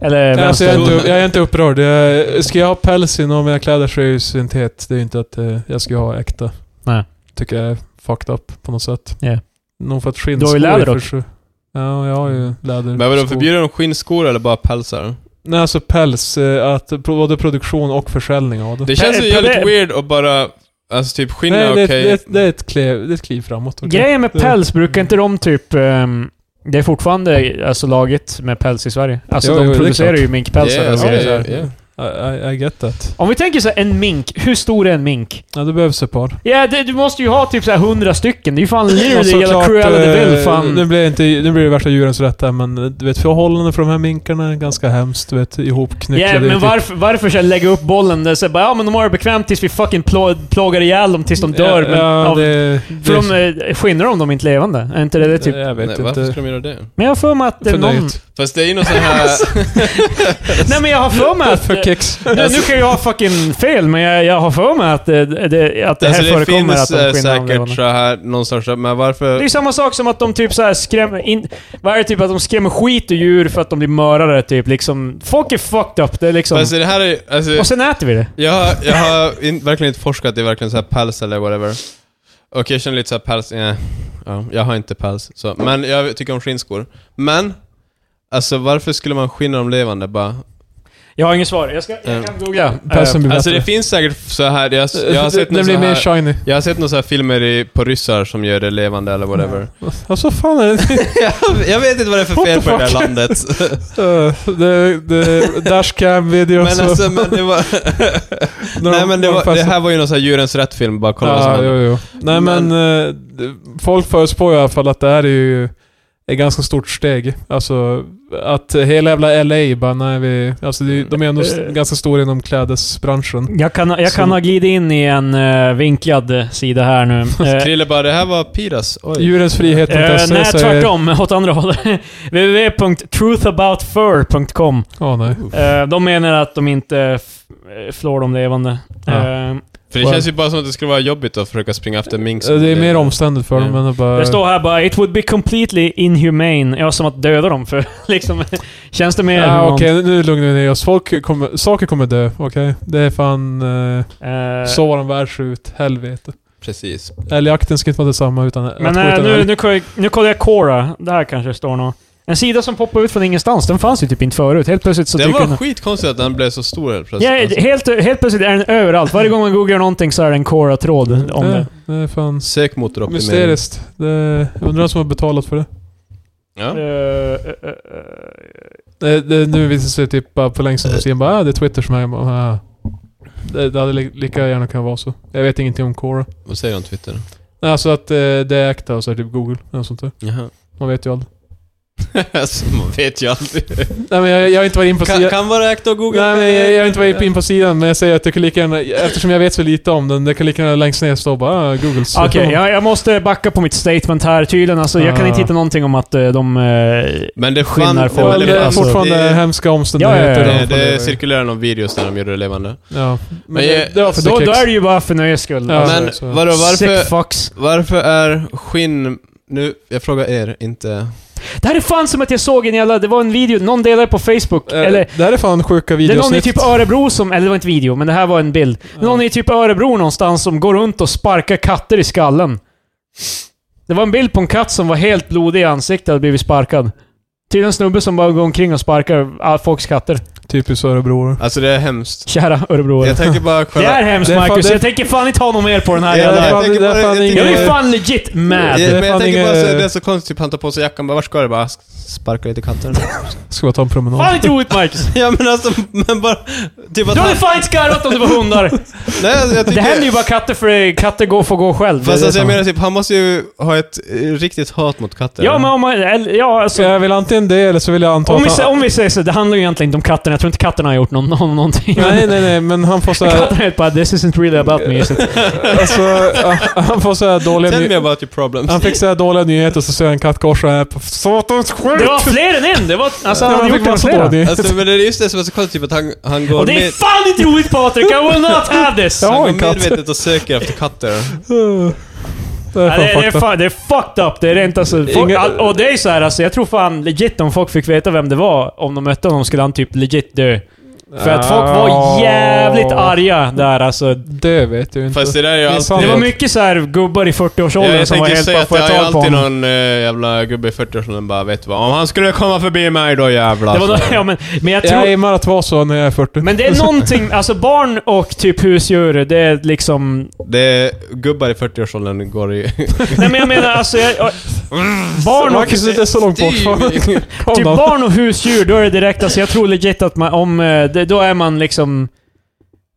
Eller alltså, jag, är vänster. inte, jag är inte upprörd. Jag, ska jag ha päls i någon av mina kläder så är det ju syntet. Det är ju inte att eh, jag ska ha äkta. Nej. Tycker jag är fucked up på något sätt. Ja. Nog för att Du har skinnskor ju läder är för också. Mm. sig- Ja, jag har ju läder. Men vadå, förbjuder de skinnskor eller bara pälsar? Nej, alltså päls. eh, Att pro- både produktion och försäljning av det. Det känns ju Pe- jävligt pe- weird att bara, alltså typ skinn Nej, är det, okej. det, det, är ett kliv, det är ett kliv framåt. okej. Grejen med Det- päls, brukar inte de typ... ehm, det är fortfarande alltså, laget med päls i Sverige. Alltså Jo, jo, de det är producerar klart. ju minkpälsar. Yeah, och grejer. det är- yeah, yeah. I, I, I get that. Om vi tänker så här, en mink. Hur stor är en mink? Ja, det behövs ett par. Ja, det, du måste ju ha typ så här 100 stycken. Det är ju fan Och literally hela såklart, Cruella de Vil, eh, fan. Nu blir, det inte, nu blir det värsta djurens rätt här, men eh, du vet förhållandena för de här minkarna är ganska hemskt. Du vet, ihopknycklade. Ja, i men typ- varför, varför ska jag lägga upp bollen där så bara, ja men de har det bekvämt tills vi fucking plå, plågar ihjäl dem tills de dör. Ja, men, ja, av, det, för det, de, eh, skinnar de dem inte levande? Är inte det, det typ? Jag vet Nej, varför inte. skulle de göra det? Men jag har för mig att det är För någon... nöjet. Fast det är ju någon sån här... alltså, Nej men jag har för mig att... Ah, eh, För Alltså- kex. Nu, nu kan jag ha fucking fel, men jag, jag har för mig att det, det, att det här alltså det förekommer finns att de eh, skinnar dem säkert levande. så här någonstans, men Det är varför... ju samma sak som att de typ så här skrämmer in... Vad är det typ? Att de skrämmer skit ur djur för att de blir mördare typ. Liksom, folk är fucked up. Det är liksom... Alltså det här är alltså, och sen äter vi det. jag, har- jag har in, verkligen inte forskat i verkligen så här päls eller whatever. Och jag känner lite så här päls, eh, ja, jag har inte päls. Så, men jag tycker om skinnskor. Men, alltså varför skulle man skinna dem levande bara? Jag har inget svar. Jag, ska, jag kan googla. Pälsen blir Alltså det bättre. finns säkert så här, jag, jag har Det- sett Den någon så blir mer här, shiny. jag har sett några så här filmer i, på ryssar som gör det levande eller whatever. Alltså fan är det... jag, jag vet inte vad det är för What fel the på det där fuck? landet. Eh, det, det, Dashcam-videos men alltså, men det var... Nej men det, var, det här var ju någon sån här djurens rätt-film, bara kolla vad som Ja, hände. jo, jo. Nej men, eh, folk förutspår ju i alla fall att det här är ju ett ganska stort steg. Alltså att hela jävla LA bara, nej vi... Alltså det, de är ändå s- Eh. ganska stora inom klädesbranschen. Jag kan, jag kan Så- ha glidit in i en eh, vinklad eh, sida här nu. Eh, Krille bara, det här var Piras. Oj. Djurensfrihet.se Eh, nej, säger- tvärtom. Åt andra hållet. www.truthaboutfur.com Ja, nej. eh, De menar att de inte f- eh, flår de levande. Ja. Eh, För det känns ju bara som att det skulle vara jobbigt att försöka springa efter mink. som Eh, Det är mer lever. omständigt för dem Ja. än att bara... det står här bara “It would be completely inhumane”. Ja, som att döda dem för liksom... Känns det mer Ja, humant? Ah, okej, nu lugnar vi ner oss. Folk kommer, saker kommer dö, okej? Det är fan... Eh, Eh, så var en värld ut, helvete. Precis. Älgjakten ska inte vara detsamma utan... att Men gå eh, utan nu, älg. nu, kollar jag- nu kollar jag Cora. Där kanske det står något. En sida som poppar ut från ingenstans. Den fanns ju typ inte förut. Helt plötsligt så Det dyker var den skitkonstigt att den blev så stor helt plötsligt. Ja, alltså. helt, helt plötsligt är den överallt. Varje gång man googlar någonting så är det en Cora-tråd om det. Det är fan... Sökmotoroptimering. Mysteriskt. Det, jag undrar vem som har betalat för det. Ja. Eh, eh, eh, det, det nu visar det sig typ bara på Eh. längst sidan bara ah, det är Twitter som är... Jag bara, Ah. Det, det hade li, lika gärna kunnat vara så. Jag vet ingenting om Quora. Vad säger du om Twitter? Nej, Alltså att eh, det är äkta och så är det typ Google eller något sånt där. Jaha. Man vet ju aldrig. alltså, man vet ju aldrig. Nej men jag, jag har inte varit in på kan, sidan. kan vara ägt av Google. Nej men jag, jag har inte varit in på sidan men jag säger att det kan lika gärna... Eftersom jag vet så lite om den, det kan lika gärna längst ner stå bara ah, Googles. Okej, jag, jag måste backa på mitt statement här tydligen. Alltså, jag kan Ah. inte hitta någonting om att eh, de... eh, Men det Skinnar folk. Ja, men det är alltså, fortfarande det- hemska Ja, omständigheter. ja, ja. Det, det cirkulerar någon videos där de gjorde det levande. Ja. Men Men det, jag- det var för då, det då kex. är det ju bara för nöjes skull. Ja, Alltså, Men så- vadå, Sick varför, fucks. varför är skinn... Nu, jag frågar er, inte... Det här är fan som att jag såg en jävla... Det var en video, någon delade på Facebook. Eh, eller, det här är fan sjuka det är någon i videosnitt. typ Örebro som... Eller det var inte video, men det här var en bild. Ja. Någon i typ Örebro någonstans som går runt och sparkar katter i skallen. Det var en bild på en katt som var helt blodig i ansiktet och hade blivit sparkad. Tydligen en snubbe som bara går omkring och sparkar all folks katter. Typiskt Örebro. Alltså det är hemskt. Kära Jag Örebroare. tänker bara Det är själva... hemskt Det är fan- Marcus, det- jag tänker fan inte ha något mer på den Ja, här Det jävla... är jag fan- tänker det är bara- fan jag tänker ingen- Jag bara- är fan legit Ja, mad! det är men fan jag tänker inget- bara så, det är så konstigt, han tar på sig jackan bara, vart ska du? Bara, sparka lite katten. Ska bara ta en promenad. Fan inte roligt Marcus! ja men alltså, men bara... Typ att Du hade han, fan inte skarvat om det var hundar! nej, alltså, jag Det tycker- händer ju bara katter för katter går får gå själv. Det är Fast det alltså jag som- menar typ, han måste ju ha ett eh, riktigt hat mot katter. Ja men om man... eller- Ja Så alltså... jag vill antingen det eller så vill jag anta Om vi, att sä- om vi säger så, det handlar ju egentligen inte om katterna. Jag tror inte katterna har gjort någon, någon, någonting. Nej, nej, nej, men han får såhär... Katterna är bara 'This isn't really about me' så att- alltså, ja, han får såhär dåliga Tell me ny- about your problems. Han fick såhär dåliga nyheter och så ser jag en katt korsa här på satans skit! Det var fler än en! Det var... Alltså han han har fick gjort det massa flera. dåliga nyheter. Alltså men det är just det som är så konstigt, typ att han, han går Och det är med... fan inte roligt Patrik! I will not have this! Ja, Han har går en katt. medvetet och söker efter katter. Det är Ja, det, fan det, är fucked up. fan, det är fucked up. Det är rent alltså. Folk, Inga- all, och det är ju så här, alltså, jag tror fan legit om folk fick veta vem det var, om de mötte honom skulle han typ legit dö. För att folk var jävligt arga där alltså. Det vet jag ju inte. Fast det där är ju Det är alltid... sant. Det var mycket så här gubbar i Ja, 40-årsåldern jag som var tänkte helt säga bara att det får jag är tag på alltid honom. någon eh, jävla gubbe i 40-årsåldern bara, vet du vad? Om han skulle komma förbi mig då jävlar. Det var, så- någon- ja, men, men jag Jag tror... aimar att vara så när jag är 40. Men det är någonting, alltså barn och typ husdjur, det är liksom... Det är gubbar i 40-årsåldern går i... Nej men jag menar alltså... Jag, jag, barn och... Marcus är inte så långt bort från från Typ dem. barn och husdjur, då är det direkt, alltså jag tror legit att man, om... eh, det- Då är man liksom...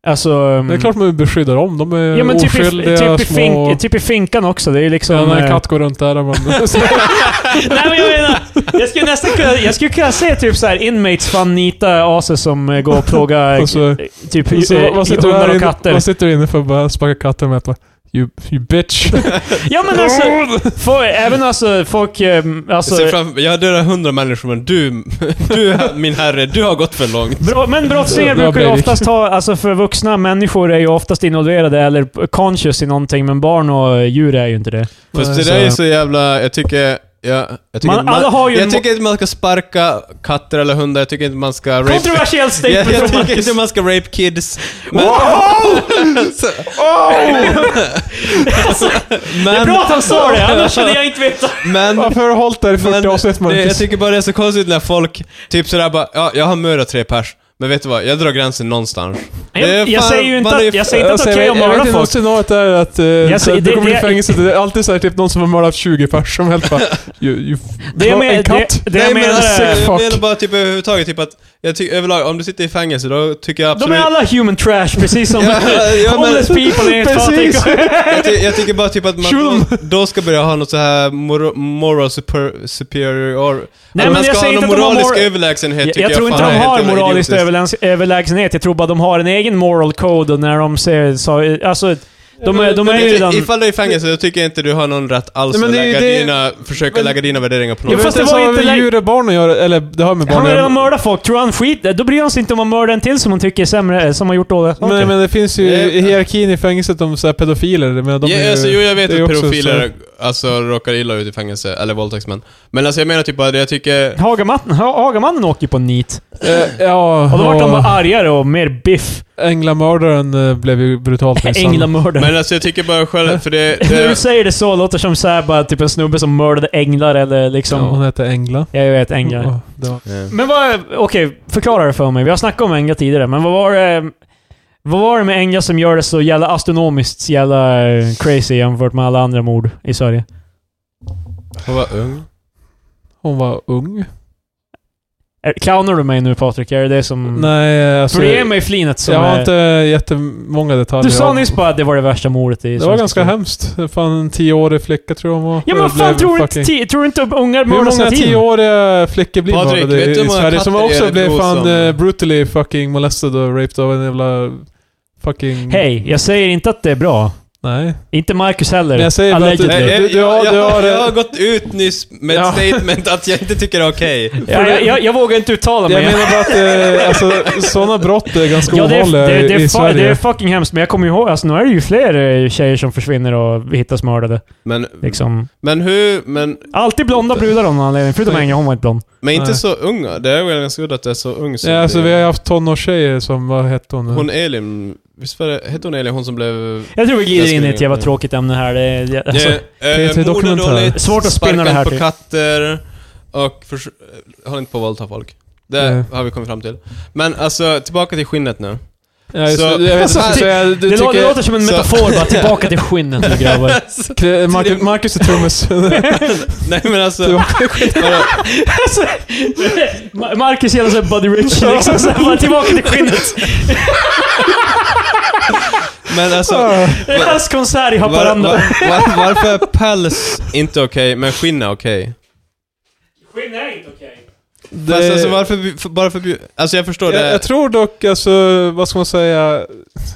Alltså... Det är klart man beskyddar dem. De är Ja men typ i, oskyldiga typ, i små... fink, typ i finkan också, det är ju liksom... Ja, när en eh, katt går runt där. Man, Nej men jag menar, jag skulle nästan kunna, jag skulle kunna se typ såhär inmates fan nita aser som eh, går och plågar Och så- eh, typ så, eh, vad sitter du hundar här och inne, katter. vad sitter du inne för? Bara sparka katten med att bara, you, you bitch. Ja men alltså, för, även alltså folk, eh, Jag alltså, ser framför- Jag dödar hundra människor men du, du min herre, du har gått för långt. Bra, men brottslingar Bra, brukar ju Breivik. oftast ha, alltså för vuxna människor är ju oftast involverade eller conscious i någonting, men barn och eh, djur är ju inte det. Fast det Nej, där är så- så jävla... Jag tycker... Jag, jag tycker, Man- inte alla har ju en jag mo- tycker inte man ska sparka katter eller hundar, jag tycker inte man ska rape... Kontroversiellt jag, statement jag från tycker Marcus. inte man ska rape kids. Men, Så- Det är men, bra att han sa det, annars hade jag inte vetat. men, Varför har du hållit där i 40 avsnitt men det, jag Marcus? tycker bara det är så konstigt när folk typ sådär bara, ja, jag har mördat tre pers. Men vet du vad, jag drar gränsen någonstans. Det är Jag, jag fan- säger ju man inte är att, jag säger inte att det är okej att jag vet mörda inte om folk. scenariot är att eh, så säger- att du det- kommer det- i fängelse. Det är alltid så här, typ någon som har mördat 20 pers som helt bara... You, you, Det jag, en men, katt? det, det jag Nej, men menar alltså, är... jag fuck. menar bara typ överhuvudtaget, typ att jag tycker överlag, om du sitter i fängelse då tycker jag De absolut... är alla human trash, precis som Ja, ja, men- homeless people är Precis. fattiga. jag, ty- jag tycker bara typ att man Shoot 'em. då, då ska börja ha något så här mor- moral super- superior... Nej, att men man jag ska ha säger någon inte att de har moralisk mor- överlägsenhet Jag, tycker jag tror inte fan de är helt har jävla moralisk idiotiskt. överläns överlägsenhet. Jag tror bara de har en egen moral code och när de ser så, Alltså, de, är- de är Men ju i- redan... Ifall du är i fängelse, då tycker jag inte du har någon rätt alls Nej, men att det är ju lägga det- dina, försöka men- lägga dina värderingar på någon. Jag men vet fast inte det var vad inte med läng- djur och barn att göra, eller det har med barn Han att har göra. redan mördat folk. Tror han skit... Då bryr han sig inte om han mördar en till som han tycker är sämre, eh, som har gjort dåliga saker. Men, men det finns ju Nej. i hierarkin i fängelset om så här pedofiler. Men de ja, är ju, alltså, jo, jag vet det är att också pedofiler alltså, råkar illa ut i fängelse, eller våldtäktsmän. Men alltså jag menar typ bara det, jag tycker... Hagamannen, Ha- Hagamannen åker ju på nit. så- Eh, ja, Och då vart de bara och argare och mer biff. Änglamördaren eh, blev ju brutalt misshandlad. Änglamördare. Men alltså jag tycker bara själv, för det... När du det säger det så låter det som så här, bara typ en snubbe som mördade änglar eller liksom... Ja, Hon hette Engla. Jag vet, änglar. Ja, det var- Ja. Men vad... Okej, förklara det för mig. Vi har snackat om änglar tidigare, men vad var det... Vad var det med änglar som gör det så jävla astronomiskt jävla eh, crazy jämfört med alla andra mord i Sverige? Hon var ung. Hon var ung. Är- Clownar du mig nu Patrik? Är det det som... Nej, alltså... För du ger mig flinet som jag har Mm. är... inte jättemånga detaljer. Du sa om- nyss bara att det var det värsta mordet i Det var svensk ganska historia. hemskt. Fan, en tioårig flicka tror jag hon var. Ja men vad Blev fan, tror du, fucking- inte, ti- tror du inte Hur ungar mördas många hela tiden? tioåriga flickor blir Patrik, mördade vet du hur i många Sverige som katter är också det blev då fan som- eh, brutally fucking molested och raped av en jävla fucking... Hej, jag säger inte att det är bra. Nej. Inte Marcus heller. Men jag säger bara att Allegedly. du- Nej, du har- jag, du har- jag, jag har gått ut nyss med ett Ja. statement att jag inte tycker det är okej. Ja, jag, jag, jag vågar inte uttala Jag mig. menar bara att eh, alltså, sådana brott är ganska Ja, det, är, ovanliga det, i det, är fa- Sverige. det är fucking hemskt, men jag kommer ju ihåg, alltså, nu är det ju fler eh, tjejer som försvinner och hittas Mm. mördade. Men, Liksom. men hur, men, Alltid blonda brudar av någon anledning, förutom Engla, hon var inte blond. men inte Nej. så unga. Det är väl ganska udda att det är så ung som ja, alltså, det- vi har ju haft tonårstjejer som, vad hette hon nu? Hon Elin, visst var det, hette hon Elin hon som blev... Jag tror vi Jag glider skulle in i ett jävla inte- tråkigt ämne här. Det, är- jag- alltså, P3 mord eh, är dokumentär. dåligt, Svårt att spinna det här sparken till. på katter och förs- eh, håll inte på att våldta folk. Det Nej. har vi kommit fram till. Men alltså, tillbaka till skinnet nu. ja, just, så- det. jag vet alltså, inte, så jag- det, du lå- det tycker... låter som en så- metafor bara, tillbaka till skinnet nu grabbar. Kre- Marcus, Marcus är trummis. Nej men alltså... Alltså, Ma- Marcus gillar såhär Buddy Rich, liksom, så här, bara tillbaka till skinnet. men alltså... Det är hans konsert i Var, var, Haparanda. var, varför är päls inte okej, men skinn är okej? Skinn är inte okej. Det- Fast Alltså varför, vi- för, bara förbjud... Alltså jag förstår det. Jag, jag tror dock, alltså, vad ska man säga?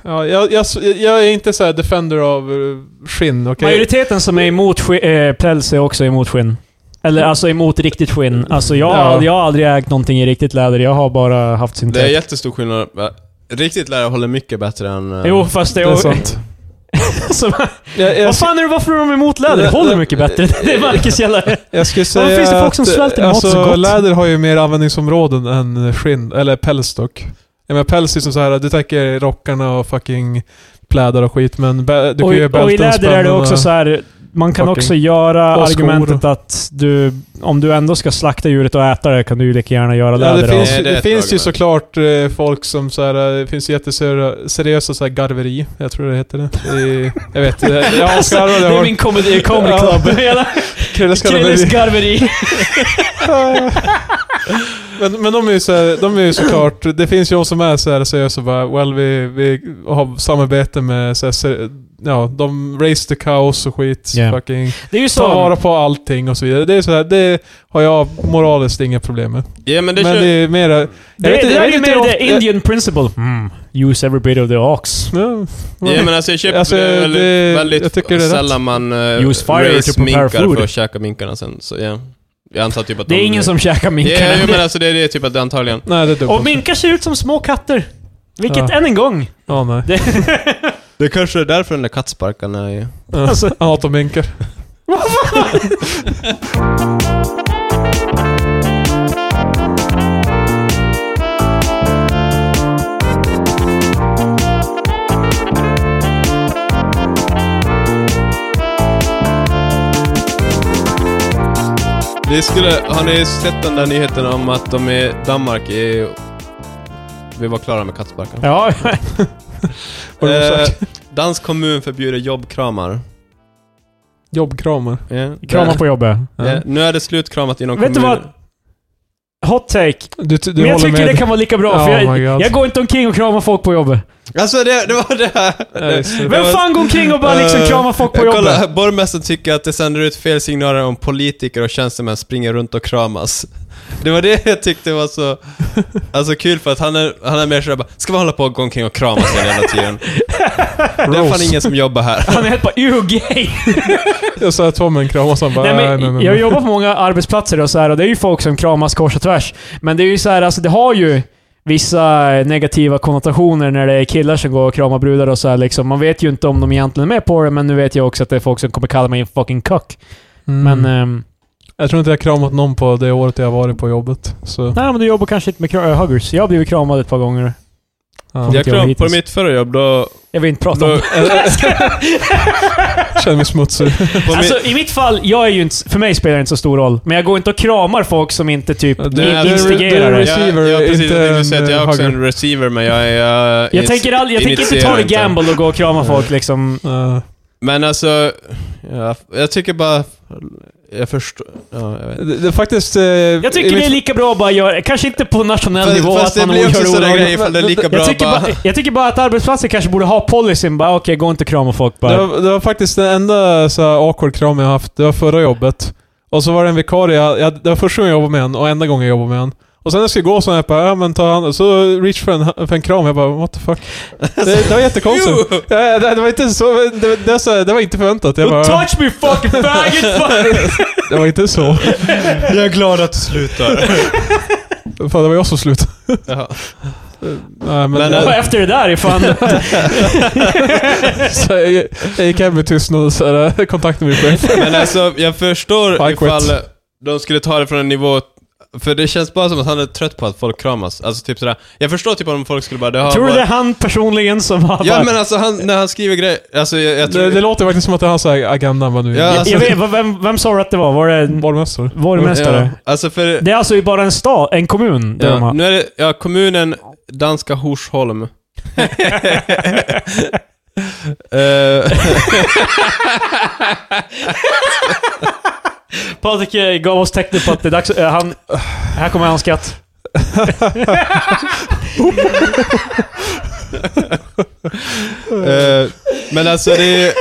Ja, jag, jag, jag är inte så här defender av eh, skinn, okej? Majoriteten som är emot sk- eh, päls är också emot skinn. Eller alltså emot riktigt skinn. Alltså jag, har- Ja. jag har aldrig ägt någonting i riktigt läder, jag har bara haft det är syntet. jättestor skillnad. Va? Riktigt lärare håller mycket bättre än... eh, Jo, fast det Det är... är sant. alltså, Jag, jag, vad fan är det varför de är emot läder? Det håller mycket bättre. Det är Marcus jävla... jag skulle säga Varför finns det folk som att, svälter mat så alltså, gott? läder har ju mer användningsområden än skinn, eller päls dock. Jag menar päls är som så här, du tänker rockarna och fucking plädar och skit, men bä, du kan Och, ju i- göra bälten, och i läder är det spännen och- också så här. Man kan Fucking- också göra och skor. argumentet att du, om du ändå ska slakta djuret och äta det kan du ju lika gärna göra Ja, läder det av. finns, Nej, det det är ett finns ju argument. såklart eh, folk som så här, eh, det finns jätteseriösa så här garveri, jag tror det heter det. I, jag vet, eh, jag Alltså, avskarvar det det. är har- min comedy, comedy club. Hela Krilles Krilles garveri. garveri. men, men de är ju så här, de är ju såklart, det finns ju de som är så här seriösa och bara well vi, vi har samarbete med så här, ser- ja, de raise the cows och skit. Ja. Fucking, Det är ju ta så. vara på allting och så vidare. Det är så här, det har jag moraliskt inga problem med. Ja men det, men kör... det är mera... jag Det, vet inte- det jag där vet är inte ju mer hur the ofta- Indian principle. Mm. Use every bit of the ox. Ja, Ja men alltså jag köper Alltså, det, är väldigt, det- väldigt jag tycker det är rätt. sällan man uh, Use fire to prepare minkar food. för att käka minkarna sen. Så ja. Jag antar typ att Det är de, ingen som käkar Ja, minkarna. jo, men alltså det är det typ att det antagligen... Nej, det är dumt. Och minkar ser ut som små katter. Vilket Ja. än en gång. Ja, nej. Det, Det kanske är därför den där kattsparkaren är... Ja, Alltså- Jag hatar minkar. Det skulle... Har ni sett den där nyheten om att de i Danmark är... Vi var klara med kattsparkaren. ja, Har du Eh, sagt? dansk kommun förbjuder jobbkramar. Jobbkramar. Ja. kramar på jobbet. Ja. Nu är det slutkramat inom Vet du kommunen. vad? Hot take. Du, du Men jag håller tycker med. det kan vara lika bra, Oh för my jag, God. jag går inte omkring och kramar folk på jobbet. Alltså det, det var det här. Nej, så- Vem fan går omkring och bara liksom Eh, kramar folk på kolla, jobbet? Borgmästaren tycker att det sänder ut fel signaler om politiker och tjänstemän springer runt och kramas. Det var det jag tyckte var så alltså kul för att han är, han är mer sådär bara, ska vi hålla på och gå omkring och kramas hela jävla tiden? Det är fan Rose. ingen som jobbar här. Han är helt bara “Ew, gay!” Jag sa att Tommy kramas, han bara Nej, men, nej, nej, Jag nej. jobbar på många arbetsplatser och så här, och det är ju folk som kramas kors och tvärs. Men det är ju så här, alltså det har ju vissa negativa konnotationer när det är killar som går och kramar brudar och så här, liksom. Man vet ju inte om de egentligen är med på det, men nu vet jag också att det är folk som kommer kalla mig en fucking cuck. Mm. Men... ehm, Jag tror inte jag kramat någon på det året jag har varit på jobbet. Så, nej, men du jobbar kanske inte med kra- eh, huggers. Jag har blivit kramad ett par gånger. ja. Jag Jag kram, kram- på mitt förra jobb då... Jag vill inte prata om då det. Känner mig smutsig. på Alltså, mitt, i mitt fall, jag är ju inte, för mig spelar det inte så stor roll. Men jag går inte och kramar folk som inte typ Du- in- du är- du instigerar är det. receiver, jag, jag, precis, inte jag tänkte säga att en, jag är också hugger. en receiver, men jag är... Jag, eh, Jag tänker, all, jag tänker inte ta det gamble och gå och krama folk liksom. Ja. Men alltså, jag, jag tycker bara... Jag förstår... Ja, jag vet. Det, det är faktiskt... eh, Jag tycker i det är mitt- lika bra att bara göra Kanske inte på nationell Fast- nivå fast att man det blir gör också det sådär olagligt. grej ifall det är lika bra jag, tycker bara- bara, jag tycker bara att arbetsplatser kanske borde ha policyn bara, okej, gå inte och krama folk bara. Det var, det var faktiskt den enda så här, awkward kram jag haft. Det var förra jobbet. Och så var det en vikarie. Jag, jag, det var första gången jag jobbade med en och enda gången jag jobbade med en. Och sen när jag skulle gå så jag bara, ja men ta hand Så reach för en, för en kram. Jag bara, what the fuck. Det, det var jättekonstigt. Jo! Ja, det, det var inte så, det, det, var så här, det var inte förväntat. Jag Don't bara, touch me fucking faggot! fuck! det var inte så. Jag är glad att du slutar. Fan, det var jag som slutade. Jaha. Nej, men, Men, eh, Och jag, efter det där är fan... så jag, jag gick hem i tystnad och så här, kontaktade min chef. Men alltså, jag förstår I quit. ifall de skulle ta det från en nivå... För det känns bara som att han är trött på att folk kramas. Alltså typ sådär. Jag förstår typ om folk skulle bara... Det har Tror du det är varit... han personligen som har Ja bara- men alltså han, när han skriver grejer... Alltså jag, jag tror... Det, det låter verkligen som att det är hans så här agenda. Vad nu Ja, ja. alltså- jag vet, vad- vem, vem sa du att det var? Var det Borgmästare. borgmästare? Ja, alltså för... Det är alltså ju bara en stad, en kommun, där ja, de har. nu är det... Ja, kommunen Danska Horsholm. Eh, Patrik eh, gav oss tecknet på att det är dags... eh, Han... Här kommer hans skatt. eh, men alltså det är...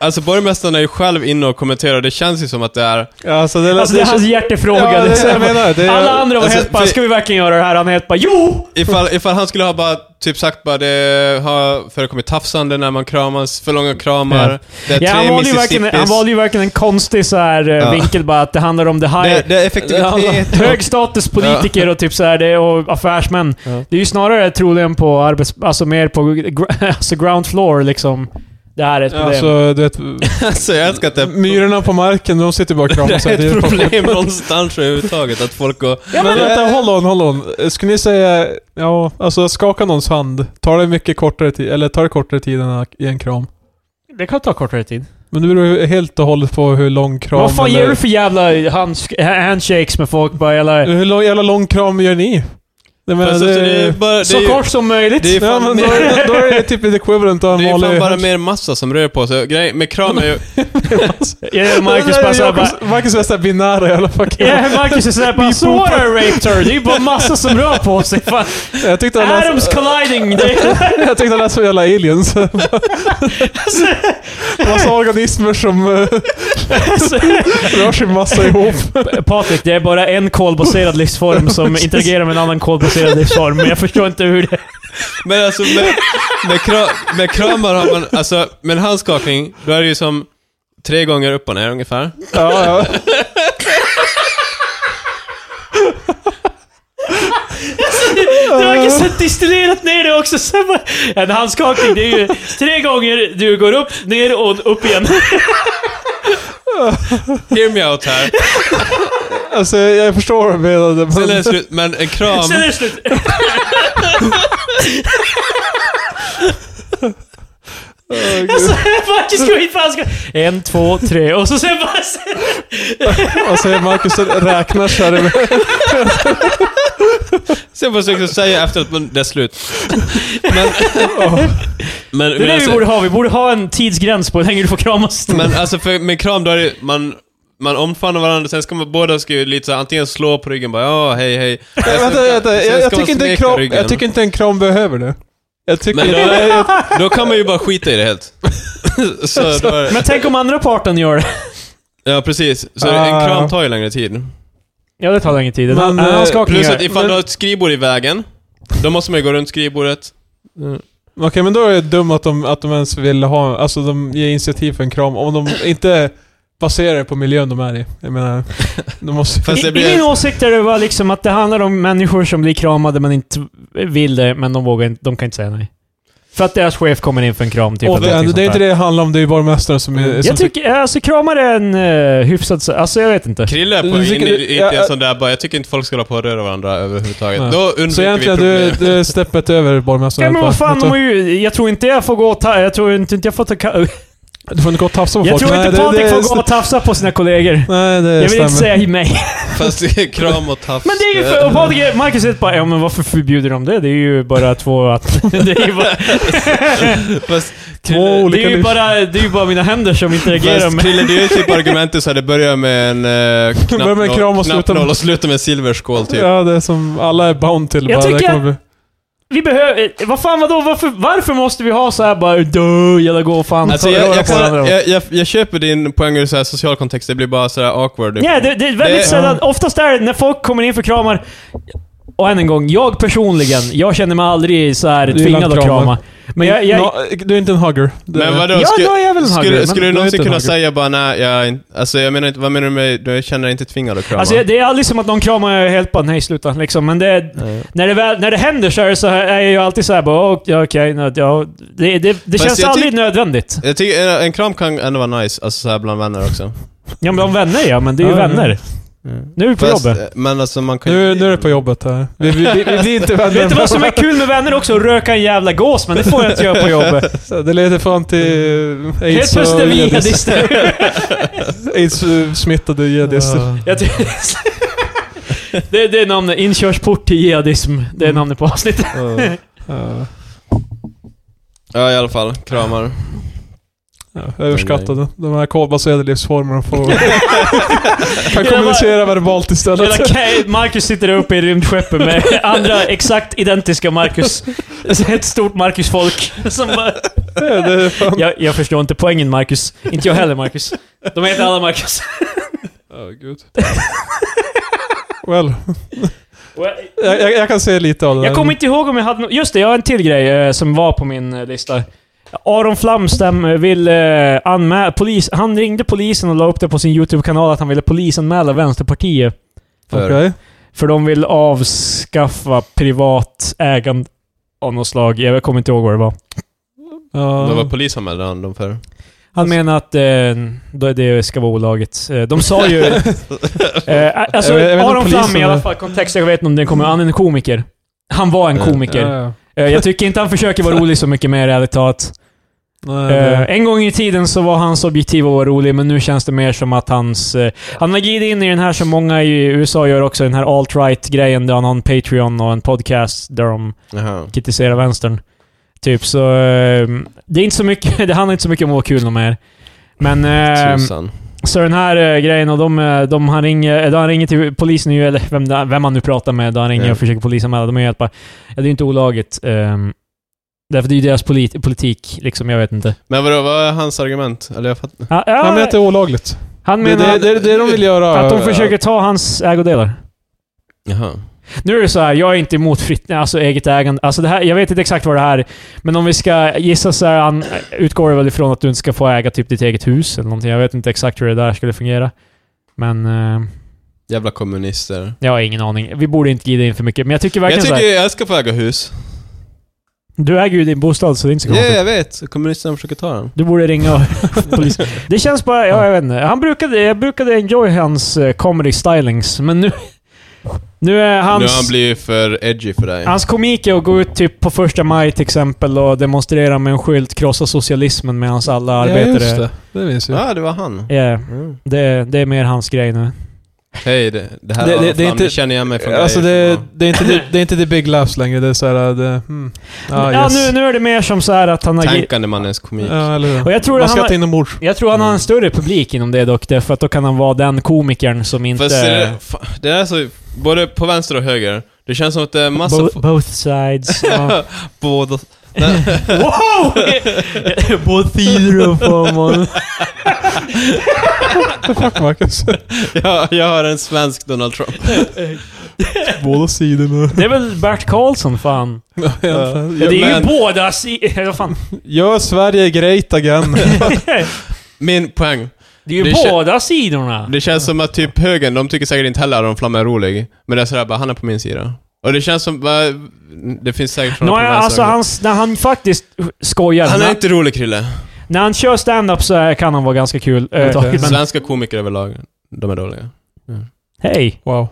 Alltså borgmästaren är ju själv inne och kommenterar det känns ju som att det är... Alltså, det, Alltså det är hans hjärtefråga. Ja, det är Det är så det jag här- menar. Det är- Alla andra var alltså, helt bara, för- ska vi verkligen göra det här? Han är helt bara, jo! Ifall, ifall han skulle ha bara typ sagt bara det har förekommit tafsande när man kramas, för långa kramar, Ja. det är Ja, han, tre valde ju verkligen, han mississippis. valde ju verkligen en konstig så här, eh, vinkel bara, att det handlar om det high... Det, det är effektivitet. Hög status politiker och typ så här, det, och affärsmän. Det är ju snarare troligen på arbets... Alltså mer på gr- alltså ground floor liksom. Det här är ett problem. Alltså, du vet, Alltså, jag älskar att det är myrorna på marken, de sitter bara och kramas. det är ett problem någonstans överhuvudtaget att folk går... Men vänta, hold on, hold on. Skulle ni säga, ja, alltså skaka någons hand, tar det mycket kortare tid, eller tar det kortare tid än i en kram? det kan ta kortare tid. Men det beror ju helt och hållet på hur lång kram... Vad fan eller, ger du för jävla hands, handshakes med folk bara? Eller, Hur lång, jävla lång kram gör ni? Jag menar, Fast alltså, det, det är bara... Det är, så ju- kort som möjligt. det är ja, fan men då, mer- är det- då är det typ ett equivalent av det en är ju fan vanlig... bara mer massa som rör på sig. Grejen med kram är ju... Ja, Marcus bara såhär bara... Marcus- Marcus är såhär binära jävla fucking... Ja, Marcus är såhär bara “So what I raped her?” Det är ju bara massa som rör på sig. Fan. Jag tyckte han lät, Adams colliding! Det, jag tyckte han lät som jävla aliens. Massa organismer som eh, rör sig massa ihop. Patrik, det är bara en kolbaserad livsform som interagerar med en annan kolbaserad livsform. Men jag förstår inte hur det... Men alltså med, med, kram, med kramar har man... Alltså med en handskakning, då är det ju som tre gånger upp och ner ungefär. Ja, ja. Du har så distillerat ner det också. Sen bara, en handskakning, det är ju tre gånger du går upp, ner och upp igen. Hear me out här. Alltså jag förstår vad du menade. Sen är det Men, slut, men en kram... Sen är det slut. Åh, Så gud. Marcus går hit på handskakning. En, två, tre och så sen bara... Sen, och så är Alltså, Marcus och räknar så här. Sen får jag försöka säga efter att man, det är slut. Men... men, det är men, det vi alltså, borde ha. Vi borde ha en tidsgräns på hur länge du får kramas. men alltså för med kram då är det, man, man omfamnar varandra, sen ska man båda ska ju lite så här, antingen slå på ryggen bara ja, hej hej. Sen Vänta, ska- vänta. sen Jag, jag, ska man tycker inte en smeka kram, ryggen. jag tycker inte en kram behöver det. Jag tycker Men inte... då, då kan man ju bara skita i det helt. så, då är, Men tänk om andra parten gör det. ja, precis. Så Ah, en ja. kram tar ju längre tid. Ja, det tar länge tid. En Men, hand- eh, en handskakning Plus gör att det. ifall Men- du har ett skrivbord i vägen, då måste man ju gå runt skrivbordet. Okej, men då är det dumt att de, att de ens vill ha... Alltså de ger initiativ för en kram om de inte baserar det på miljön de är i. Jag menar, de måste... Fast det I, blir- I min åsikt är det bara liksom att det handlar om människor som blir kramade men inte vill det, men de vågar inte, de kan inte säga nej. För att deras chef kommer in för en kram, typ. Åh, eller det, alltså, någonting det är sånt inte där. det det handlar om, det är ju borgmästaren som... Mm. är- Eh, som Jag tycker, alltså kramar är en uh, hyfsad... så- Alltså jag vet inte. Krille är på Du in, tycker- i- ja, inte en ja. sån där bara, jag tycker inte folk ska hålla på och röra varandra överhuvudtaget. Nej. Då undviker Så egentligen, vi du, problemet. du är steppet över borgmästaren. Ja, men vad fan, du, de är ju, jag tror inte jag får gå och ta, Jag tror inte inte jag får ta... ka- du får inte gå och tafsa på Jag folk. tror inte det- Patrik det- får gå och tafsa på sina kollegor. Nej, det Jag vill stämmer. inte säga mig. Fast det är kram och tafs. Men det är ju för... Och Patrik, Marcus säger bara ja, men varför förbjuder de det? Det är ju bara två... Att, det är ju bara, Fast, Två olika det är ju liv. bara, det är ju bara mina händer som interagerar fast med... Krille, det är ju typ argumentet så här, det börjar med en eh, knapp, Börjar med en kram och slutar med- knappnål och slutar med en silverskål typ. Ja, det är som alla är bound till. Jag bara, det tycker- kommer bli- Vi behöver... eh, Vad fan vadå? Varför, varför måste vi ha så här bara dö, jävla gå och fan Alltså, röra jag, jag, på varandra kan, då?" jag, jag, jag köper din poäng ur så här social kontext, det blir bara så här awkward. Ja, det, det är väldigt Det- sällan. Oftast är det när folk kommer in för kramar. Och än en gång, jag personligen, jag känner mig aldrig så här gillar tvingad inte att kramar. krama. Men jag... jag Nå, du är inte en hugger. Det- Men vadå, Ja, skulle, då är jag väl en hugger, skulle, men skulle då är du någonsin inte en kunna hugger. säga bara nej, jag, är inte- alltså jag menar inte, vad menar du med, du känner dig inte tvingad att krama? Alltså det är aldrig som att någon kramar och jag är helt bara nej sluta. Liksom. Men det, är- när, det väl, när det händer så är, det så här, är jag ju alltid såhär bara "Åh, ja, okej, okay, ja, det, det, det Fast känns jag aldrig tyck- nödvändigt. Jag tycker eh, en, en kram kan ändå vara nice, alltså så här bland vänner också. Ja men de vänner ja, men det är ju Ja, Mm. ja. vänner. Nu är vi på Fast, jobbet. eh, men alltså man kan Nu, nu är det på jobbet här. Vi, vi, vi, vi blir inte vänner. Vet du vad som är kul med vänner också? Att röka en jävla gås, men det får jag inte göra på jobbet. Så Det leder fram till eh, Helt aids plötsligt är vi och eh, jihadister. AIDS-smittade jihadister. Jag tycker- det, det är namnet. Inkörsport till jihadism. Det är Mm. namnet på avsnittet. Ja, Ja i alla fall, kramar. ja, överskattade. De här kodbaserade livsformerna får... kan bara- kommunicera verbalt Hela istället. Ke- Marcus sitter där uppe i rymdskeppet med andra exakt identiska Marcus. Alltså, Ett stort Marcus-folk. Som bara, Det är fan... jag, jag förstår inte poängen Marcus. Inte jag heller Marcus. De heter alla Marcus. Ja, gud. Well, jag, jag, jag kan se lite av det Jag kommer inte ihåg om jag hade nå- Just det, jag har en till grej eh, som var på min eh, lista. Aron Flamstam eh, vill eh, anmäla... Polis, han ringde polisen och la upp det på sin YouTube-kanal att han ville polisanmäla Vänsterpartiet. För- Okej. För de vill avskaffa privat ägande av något slag. Jag kommer inte ihåg vad det var. Ja. Det var polisanmälde han dem för. Han Alltså- menar att eh, då är det ska vara olagligt. Eh, De sa ju... eh, Jag alltså, vet- jag vet inte Aron Flam polisen- i alla fall, kontext, jag vet inte om den kommer... Han är en komiker. Han var en Ja. komiker. Ja, ja. Eh, Jag tycker inte han försöker vara rolig så mycket mer, ärligt talat. Nej, Eh, det- en gång i tiden så var hans objektiv att vara rolig, men nu känns det mer som att hans... eh, han har glidit in i den här som många i USA gör också, den här alt-right-grejen där han har en Patreon och en podcast där de Jaha. kritiserar vänstern. Typ, så... eh, det är inte så mycket... Det handlar inte så mycket om att vara kul de är. Men... Ehm. eh, Tusan. så den här eh, grejen, och de, eh, de, han, ringer, då han ringer till polisen, ju, eller vem, det- vem han nu pratar med, då han ringer Ja. och försöker polisanmäla. De är helt bara, ja, det är ju inte olagligt. ehm, därför det är ju deras polit, politik, liksom. Jag vet inte. Ah, Men vadå, vad är hans argument? Eller jag fattar Ja, ja, Han menar att det är olagligt. han Det är menar det, det, är det de vill göra. att de försöker ta hans ägodelar. Jaha. Nu är det så här, jag är inte emot fritt, alltså eget ägande. Alltså det här, jag vet inte exakt vad det här är, men om vi ska gissa så här, han utgår det väl ifrån att du inte ska få äga typ ditt eget hus eller någonting. Jag vet inte exakt hur det där skulle fungera. Men... ehm, Jävla kommunister. Jag har ingen aning. Vi borde inte glida in för mycket, men jag tycker verkligen Jag tycker så här, jag ska få äga hus. Du äger ju din bostad, så det är inte så Ja, konstigt. jag vet. Kommunisterna försöker ta den. Du borde ringa och- polis. Det känns bara... Ja, jag vet inte. Han brukade, jag brukade enjoy hans eh, comedy stylings, men nu... Nu är hans... Nu har han blivit för edgy för dig. Hans komik är att gå ut typ på första maj till exempel och demonstrera med en skylt, krossa socialismen med hans alla Ja, arbetare. just det. Det minns jag. Ja, ah, det var han. Ja, Mm. det, det är mer hans grej nu. Hej, det, det här Det- var det- något det är namn, inte- det känner jag mig från Alltså dig. det, det, är inte, det, det är inte the big laughs längre, det är såhär... Det, mm. ah, ja, yes. nu, nu är det mer som så här att han agerar... Tänkande mannens komik. Ja, eller hur? Och jag tror Man att han ska har- ta in inombords. Jag tror han har en större publik inom det dock, därför att då kan han vara den komikern som inte... Fast det, fa- det är så, både på vänster och höger, det känns som att det är massa... Bo- fo- both sides. ja. Båda... Nej, wow! Both sidor of someone. Fuck Marcus. jag, jag har en svensk Donald Trump. Båda sidorna. Det är väl Bert Karlsson fan? Ja, det är men- ju båda sidor... Vad fan? Gör Sverige great again. Min poäng. Det är ju Det kän- båda sidorna. Det känns som att typ högern, de tycker säkert inte heller att Aron Flam är rolig. Men det är sådär bara, han är på min sida. Och det känns som, bara, det finns säkert sådana Nåja, på vänster alltså också. hans, när han faktiskt skojar. Han när, är inte rolig Krille. när han kör stand-up så här kan han vara ganska kul. överhuvudtaget, Men Svenska komiker överlag, de är dåliga. hej! Wow.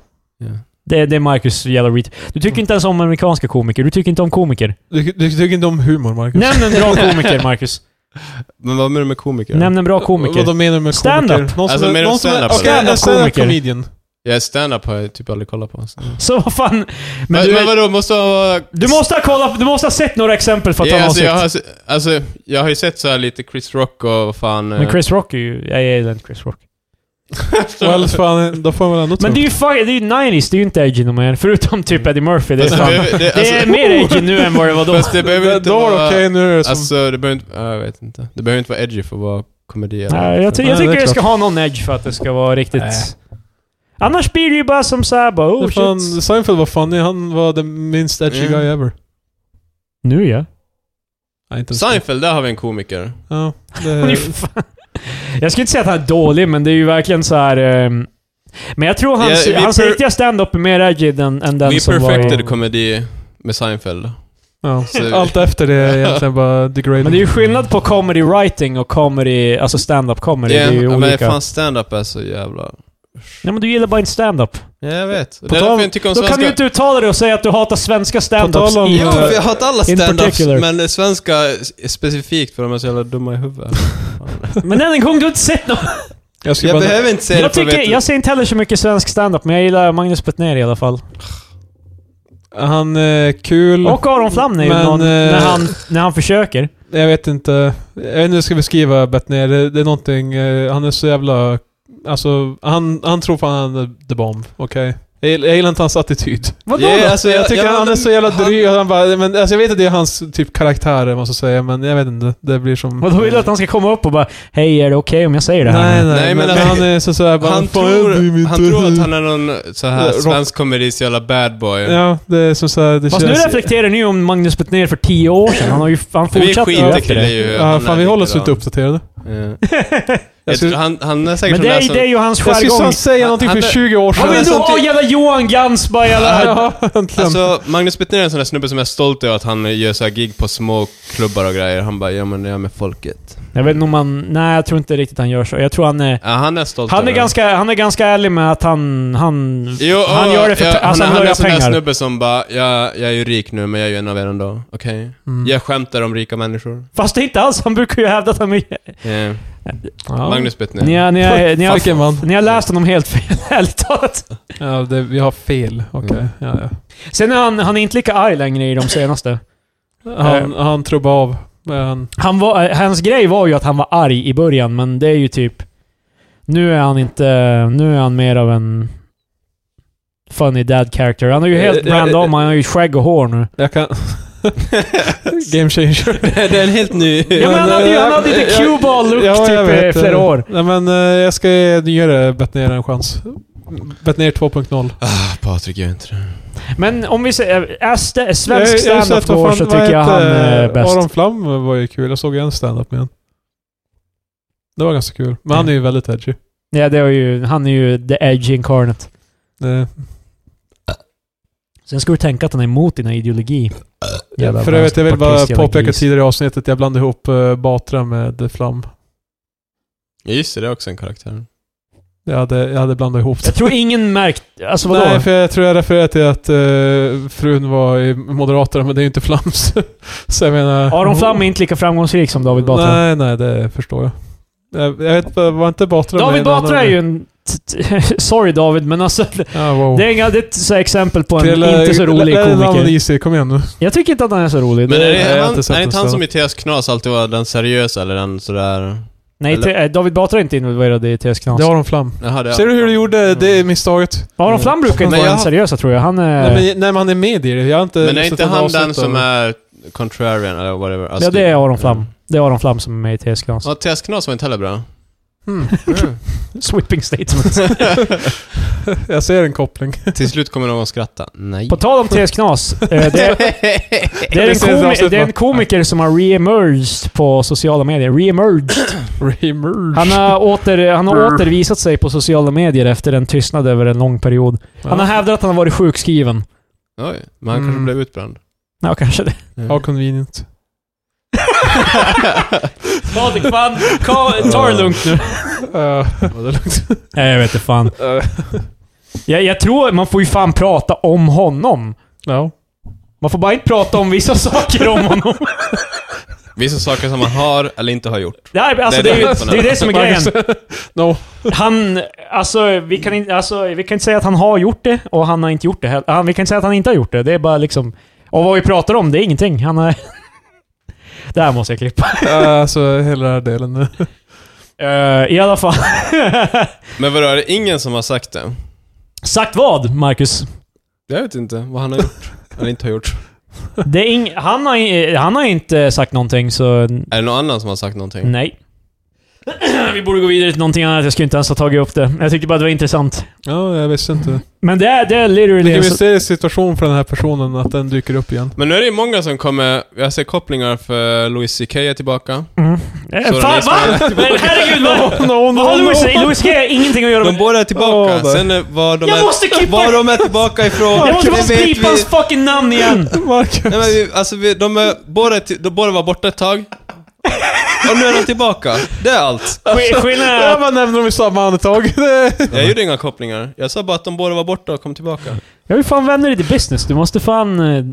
Det, det är Marcus Jellerreed. Du Mm. tycker inte ens om amerikanska komiker. Du tycker inte om komiker. Du, du tycker inte om humor Marcus? Nämn en bra komiker, Marcus. Men vad menar du med komiker? Nämn en bra komiker. Vad menar du med Stand-up. komiker? Någon Alltså, som är- menar du någon som är... stand-up, Okej, eller? en stand-up Komiker. comedian. Jag är stand-up har jag typ aldrig kollat på. Men, Så vad fan... Men, men, du, vadå, måste jag vara... du måste ha kollat... Du måste ha sett några exempel för att Ja, ha alltså, jag, har, sett. se- alltså, jag har ju sett så här lite Chris Rock och vad fan... Men eh, Chris Rock är ju... Jag gillar inte Chris Rock. Well, fan, då får man väl ändå Men det tro. är ju fan, det är ju 90s, det är ju inte edgy någon mer. Förutom typ Eddie Murphy, det är Fast det fan... behöver- det- Det är Mm. alltså- mer edgy nu än vad det var då. Fast det behöver inte Då var det vara... okej, liksom. nu är det som... Alltså, det behöver inte... ja, Jag vet inte. Det behöver inte vara edgy för att vara komedi. eller- Nej, jag, ty- Nej, jag det är tycker det ska klart. ha någon edge för att det ska vara riktigt... Nej. Annars blir det ju bara som såhär bara oh Det fan, shit. Seinfeld var funny, han var den minst edgy Mm. guy ever. Nu ja. Nej, inte ens- Seinfeld, där har vi en komiker. Ja, Han är ju det, fan- Jag skulle inte säga att han är dålig, men det är ju verkligen så här. ehm, Men jag tror hans, Ja, vi hans per- riktiga stand-up är mer edgy än, än den Vi som var perfected i... komedi med Seinfeld. ja. Så- Allt efter det är egentligen bara degrading. Men det är ju skillnad på comedy writing och comedy, alltså stand-up comedy. Ja, det är ju men olika. fan stand-up är så jävla... Nej men du gillar bara inte stand-up. Ja, jag vet. det På är tal- därför jag tycker om Då kan du svenska... inte uttala dig och säga att du hatar svenska stand-ups. På tal om- i- Jo, för jag hatar alla In stand-ups, particular. men det svenska är specifikt för de är så jävla dumma i huvudet. Men än en gång, du har inte sett något. jag skulle Jag bara, behöver inte säga Jag, det för att tycker, veta- jag ser inte heller så mycket svensk stand-up, men jag gillar Magnus Bettner i alla fall. Han är kul. Mm. Och Aron Flam är ju Men, någon, eh, när, han, när han försöker. Jag vet inte. Jag vet inte hur jag ska beskriva Bettner. Det, det är någonting... eh, han är så jävla... Alltså, han, han tror fan han är the bomb. Okej? Jag, gillar- jag gillar inte hans attityd. Vadå Ja, då? alltså, jag tycker ja, han är men så jävla han- dryg. Han bara, men, alltså, jag vet att det är hans typ karaktär, måste jag säga. Men jag vet inte. Det blir som... Vadå vill du att han ska komma upp och bara Hej, är det okej om jag säger det här? Nej, nej, nu?" Nej, nej. men Men, alltså- han är så, så här, bara, Han "Fan, tror, jag bryr mig han inte." tror att han är någon så här Ja, rock- svensk komedis jävla bad boy. Ja, det är som såhär... Det Fast nu reflekterar ni ju om Magnus Bettner för tio år sedan. Han har ju han Men vi fortsatt skiter efter i det ju. Ja, fan vi håller oss lite likadan. uppdaterade. Ja. Jag tror- skulle- Han, han är säkert Men det sån är, där som- det är ju hans Jag skulle jargong. fan säga Han- någonting han för är- 20 år Ja sedan. men Han- då, samtidigt- jävla Johan Gans bara jävla... Ja, äntligen. Alltså, Magnus Bettner är en sån där snubbe som är stolt över att han gör så här gig på små klubbar och grejer. Han bara, ja men jag är med folket. Jag vet inte om han... Nej, jag tror inte riktigt han gör så. Jag tror han är... Ja, han är stolt Han över är, det. ganska, han är ganska ärlig med att han... Han, Jo, han och- gör det för... ja, alltså, han, han är han en sån där pengar. snubbe som bara, ja, jag är ju rik nu men jag är ju en av er ändå. Okej? Mm. Jag skämtar om rika människor. Fast det är inte alls. Han brukar ju hävda att han är... Eh, Ja. Magnus Bettner. Ni har, ni har, ni har, Fucking man. ni har läst honom helt fel, ärligt talat. Ja, det, vi har fel. Okej. Mm. Ja, ja. Sen är han, han är inte lika arg längre i de senaste. Eh. Han, han trubbade av. Men han, Han var, eh, hans grej var ju att han var arg i början, men det är ju typ... Nu är han inte... Nu är han mer av en... Funny dad character. Han är ju helt Eh, eh, brand om, han har ju skägg och hår nu. jag kan... Game changer. det är en helt ny... Ja men han hade ju, han hade ju the jag- cue ball look Ja, jag typ vet. i flera år. Nej men eh, jag ska ge nyare Bettner en chans. Bettner 2.0. Ah, Patrik gör inte det. Men... Men om vi säger... Är st- Jag- jag har svensk ju standup sett, eh, vad går fan- så vad tycker jag han hette, är eh, bäst. Aron Flam var ju kul. Jag såg en standup med honom. Det var ganska kul. Men han är ju väldigt edgy. Ja, det är ju... Han är ju the edge incarnate. Det, Sen ska du tänka att han är emot dina ideologi. Jävla Äh, för övrigt, jag vill bara vänsterpartist, jävla påpeka gris. tidigare i avsnittet att jag blandade ihop eh, Batra med eh, Flam. Ja, just det, det är också en karaktär. Jag hade, jag hade blandat ihop det. Jag tror ingen märkt... Alltså vadå? Nej, för jag tror jag refererade till att eh, frun var i Moderaterna, men det är ju inte Flams. så jag menar... Aron Flam är inte lika framgångsrik som David Batra. Nej, nej, det förstår jag. Jag, jag vet, inte, var inte Batra med i David någon Batra är annan- ju en t- t- Sorry David, men alltså... Ja, wow. Det är, inga, det är ett så här exempel på en Till, eh, inte så rolig Larry komiker. Lavnisi, kom igen nu. Jag tycker inte att han är så rolig. Men Det- är det, jag har han, inte sett är det inte den han så. som i TS Knas alltid var den seriösa eller den sådär... nej, eller- te- David Batra är inte involverad i TS Knas. Det har de flam. Jaha, det Ser du hur du gjorde Mm. det misstaget? Aron Flam brukar inte Men vara jag- den seriösa tror jag. Han är... Nej, men, nej, men han är med i det. Jag har inte Men är sett inte en han avsnitt den av som det. är contrarian eller whatever? Alltså, ja, det är Aron Flam. Ja. Det är Aron Flam som är med i TS Knas. Ja, TS Knas var inte heller bra. Mm. Sweeping statement. Jag ser en koppling. Till slut kommer någon att skratta. Nej. På tal om TS Knas. eh, Det är, det är, en, ser det komi- avsnitt, det är va? en komiker som har re-emerged på sociala medier. Re-emerged. Reemerge. Han har, åter, han har åter visat sig på sociala medier efter en tystnad över en lång period. Han har hävdat att han har varit sjukskriven. Oj, men han kanske Mm. blev utbränd. Ja, kanske det. Ja, convenient. Patrik, fan. Ta det lugnt nu. Eh, Nej, jag vet inte fan. Jag, jag tror man får ju fan prata om honom. ja. Man får bara inte prata om vissa saker om honom. Vissa saker som han har eller inte har gjort. Det, här, alltså, det, Det är är ju det. det, är det som är grejen. No. Han... Alltså vi, kan inte, alltså, vi kan inte säga att han har gjort det och han har inte gjort det heller. Han- Vi kan inte säga att han inte har gjort det. Det är bara liksom... Och vad vi pratar om, det är ingenting. Han är... Det här måste jag klippa. Eh, alltså, hela den här delen. Eh, I alla fall. Men vadå, är det ingen som har sagt det? Sagt vad, Marcus? Jag vet inte vad han har gjort. eller inte har gjort. Det är ing, han, har, i- han har inte sagt någonting, så Är det någon annan som har sagt någonting? nej. Vi borde gå vidare till någonting annat. Jag skulle inte ens ha tagit upp det. Jag tyckte bara det var intressant. Ja, jag visste inte. Men det är, det är literally... Vilken en så- mysterisk situation för den här personen att den dyker upp igen. Men nu är det ju många som kommer... Jag ser kopplingar för Louis CK är tillbaka. Eh, Sorry, Fan, nästa va? Men herregud, vad, no, vad har Louis Louis G har ingenting att göra De med... båda är tillbaka. Åh, där. Sen är- var de Jag är, måste klippa- Var de är tillbaka ifrån, Jag måste det bara vet pipa hans vi. fucking namn igen! Marcus. Nej, men vi, alltså vi, de är, båda, är till- de båda var borta ett tag. Och nu är de tillbaka. Det är allt. Sk- Skillnaden är Jag att bara nämner dem i samma andetag. Det- Jag gjorde inga kopplingar. Jag sa bara att de båda var borta och kom tillbaka. Jag vill fan vända dig till business. Du måste fan... eh,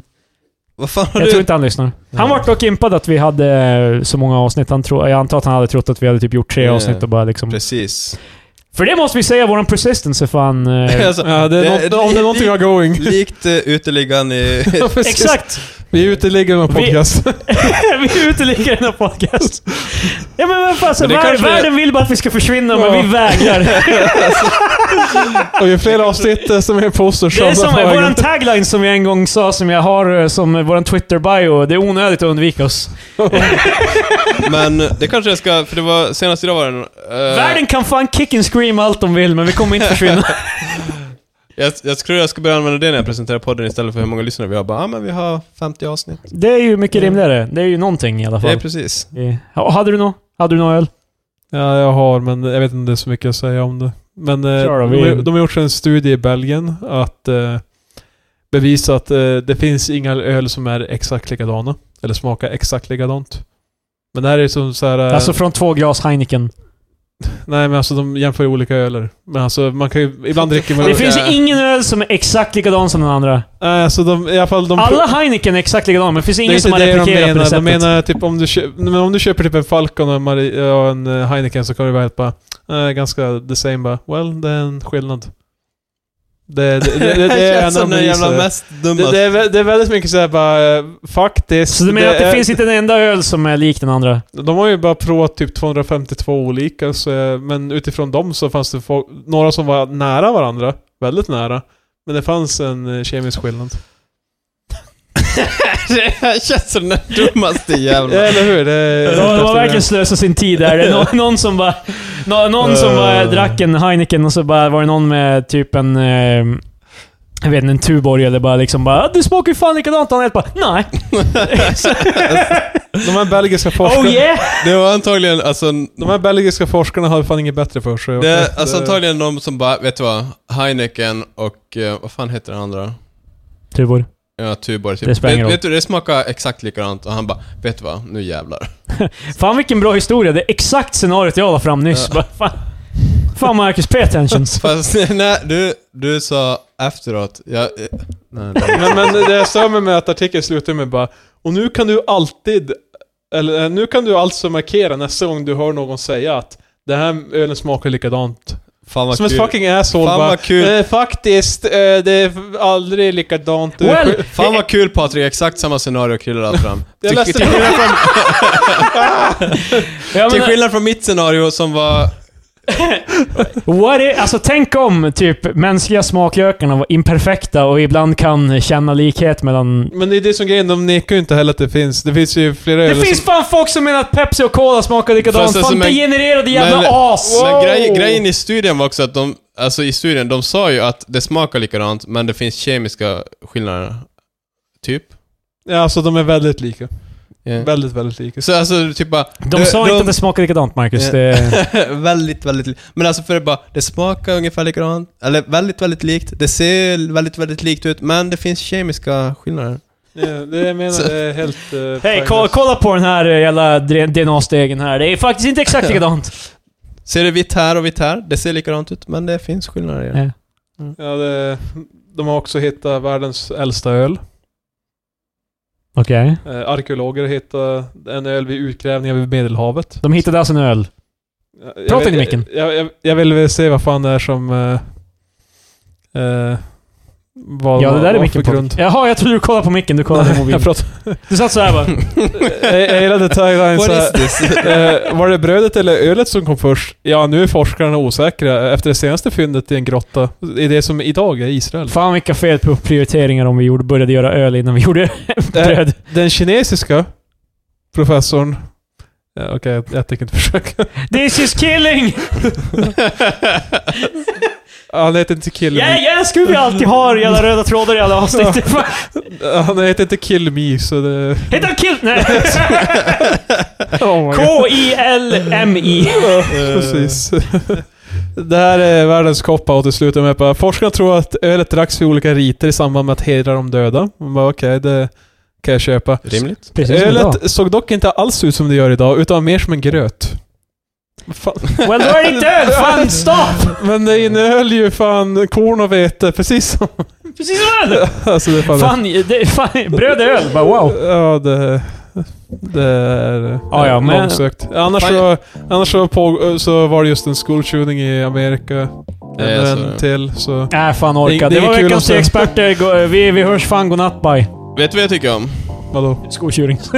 Vad fan har Jag tror du... inte han lyssnar. Han vart dock impad att vi hade eh, så många avsnitt. Han tro, jag antar att han hade trott att vi hade typ gjort tre Ja. avsnitt och bara liksom... Precis. För det måste vi säga, våran persistence är fan... eh, Alltså, Ja, det är något, om det är någonting jag har going. Likt eh, uteliggaren i... Exakt! Vi är uteliggare med Vi- podcast. vi uteliggare i den här podcast. Ja men vad fan, så Men det vär, kanske- världen vill bara att vi ska försvinna, Ja. men vi vägrar. Och ju fler avsnitt eh, som är på oss, Det är som våran tagline som jag en gång sa, som jag har eh, som eh, våran Twitter-bio. Det är onödigt att undvika oss. Men det kanske jag ska... För det var... Senast idag var det... en, eh, Världen kan fan kick and scream allt de vill, men vi kommer inte försvinna. Jag, jag tror jag ska börja använda det när jag presenterar podden istället för hur många lyssnare vi har. Bara, ah, men vi har 50 avsnitt. det är ju mycket rimligare. Det är ju någonting i alla Det är fall. precis. Ja, hade du nå? Hade du nå öl? Ja, jag har, men jag vet inte så mycket att säga om det. Men eh, Kör då, vi- de, de har gjort en studie i Belgien att eh, bevisa att eh, det finns inga öl som är exakt likadana. Eller smakar exakt likadant. Men det här är som så här... eh, Alltså från två glas Heineken. Nej, men alltså de jämför ju olika öler. Men alltså man kan ju... Ibland dricker man... Det Okej. finns ju ingen öl som är exakt likadan som den andra. Nej, alltså de, i alla fall de... Alla Heineken är exakt likadan, men det finns det ingen är som inte har det de replikerat menar. De receptet. menar typ om du, köper, men om du köper typ en Falcon och en, Marie, och en eh, Heineken så kan du vara helt bara... eh, ganska the same bara. Well, det är en skillnad. Det, det, det, det, det är en som den analys. eh. jävla mest Det, dumma... det, är, vä- det är väldigt mycket såhär bara, eh, faktiskt. Så du menar att det är- finns inte en enda öl som är lik den andra? De har ju bara provat typ 252 olika, så, eh, men utifrån dem så fanns det få, några som var nära varandra. Väldigt nära. Men det fanns en eh, kemisk skillnad. Det känns som den dummaste jävla... Ja, eller hur? Det, Ja, De har verkligen slösat sin tid där. Det är nå- någon som bara... nå- Någon som bara Eh. drack en Heineken och så bara var det någon med typ en... Eh, jag vet inte, en Tuborg eller bara liksom bara "Ah, Du smakar ju fan likadant. Han helt bara Nej. De här belgiska forskarna, Oh yeah! Det var antagligen, alltså... de här belgiska forskarna har fan inget bättre för sig. Det är alltså antagligen de som bara, vet du vad? Heineken och, eh, vad fan heter den andra? Tuborg. Ja, Tuborg typ. Det spelar ingen vet, roll. vet du, det smakar exakt likadant och han bara, vet du vad? Nu jävlar. Fan vilken bra historia. Det är exakt scenariot jag la fram nyss. Bara, fan. fan Marcus, pay attention. Fast nej, du, du sa efteråt, jag... eh, Nej, det Men, men det jag stör mig med att artikeln slutar med bara Och nu kan du alltid Eller eh, nu kan du alltså markera nästa gång du hör någon säga att Den här ölen smakar likadant Fan vad Som ett kul. fucking asshole Fan, bara. vad kul. Eh, faktiskt, eh, det är aldrig likadant. Du- Well, Fan vad kul Patrik, exakt samma scenario Krille lade fram. Jag Till- läste till, det. skillnad från, jag till menar, skillnad från mitt scenario som var... what i- alltså tänk om typ mänskliga smaklökarna var imperfekta och ibland kan känna likhet mellan... Men det är det som är grejen, de nekar ju inte heller att det finns. Det finns ju flera Det öl finns som... fan folk som menar att Pepsi och Cola smakar likadant. Fast alltså, Fan men- degenererade jävla men, as! Men grej, grejen i studien var också att de, alltså i studien, de sa ju att det smakar likadant men det finns kemiska skillnader. Typ. Ja, alltså de är väldigt lika. Ja. Väldigt, väldigt lika. Så alltså typ bara... De sa inte att det smakar likadant, Marcus. Ja. Det... väldigt, väldigt likt. Men alltså för det bara, det smakar ungefär likadant, eller väldigt, väldigt likt, det ser väldigt, väldigt likt ut, men det finns kemiska skillnader. Ja, det jag menar, det är helt... eh, Hej, poänglöst. ko- kolla på den här eh, jävla DNA-stegen här. Det är faktiskt inte exakt likadant. Ser det vitt här och vitt här, det ser likadant ut, men det finns skillnader i det. Ja. Ja, det, de har också hittat världens äldsta öl. Okej. Eh, arkeologer hittade en öl vid utgrävningar vid Medelhavet. De hittade alltså en öl. Jag- jag Prata vill- in i micken. Jag, jag, jag vill väl se vad fan det är som... eh, eh, vad, Ja, det vad- där är vad micken för på. grund. Jaha, jag tror du kollade på micken. Du kollade på mobilen. jag pratar... Du satt såhär bara. jag, jag gillade taglinen What så is här, this? eh, Var det brödet eller ölet som kom först? Ja, nu är forskarna osäkra efter det senaste fyndet i en grotta. I det som idag är Israel. Fan vilka fel på prioriteringar om vi gjorde, började göra öl innan vi gjorde bröd. Eh, Den kinesiska professorn... Ja, Okej, jag, jag tänker inte försöka. This is killing! Han heter inte Kill Ja, Me. jag älskar hur vi alltid har jävla röda trådar i alla avsnitt. Han heter inte Kill Me, så det... Hette han kill... Nej. Oh my God. K-I-L-M-I. Eh. Precis. Det här är världens koppa och till slut är jag med på. Forskarna tror att ölet dracks vid olika riter i samband med att hedra de döda. Man bara okej, det kan jag köpa. Rimligt. Precis som idag. Ölet såg dock inte alls ut som det gör idag, utan mer som en gröt. Fan. Well, då är det inte öl! Fan, stopp! Men det innehöll ju fan korn och vete, precis som... Precis som öl! Alltså det är fan... Fan, det, fan bröd är öl. Bara wow. Ja, det... Det är Ja, ja, men- långsökt. Annars, Fan, så, annars så, på, så var det just en school shooting i Amerika. Ja, En, jag såg en det. till, så... Nej, Äh, fan Det- orka. det Det är var kul veckans om tre så- experter. Gå- Vi, vi hörs fan godnatt, bye. Vet du vad jag tycker om? Vadå? Skotjuring.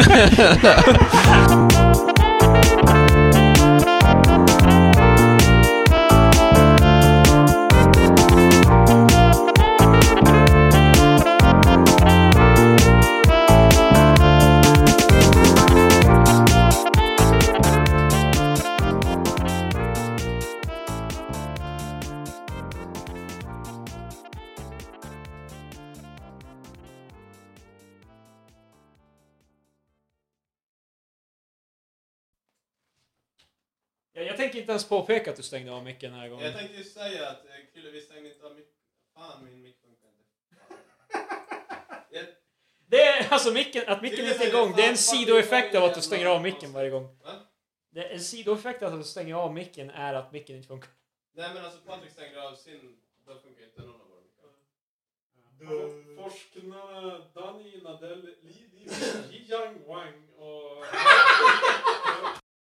Jag tänker inte ens påpeka att du stängde av micken den här gången. tänkte ju säga att Krille vi stängde inte av micken. Fan min mick funkar inte. Det är, alltså micken, att micken inte är igång, det är en sidoeffekt av att du stänger av micken varje gång. Det är en sidoeffekt av att du stänger av micken är att micken inte funkar. Nej men alltså Patrik stängde av sin, då funkar inte någon av våra mickar. Forskarna Dani Nadell, Li Li Wang och...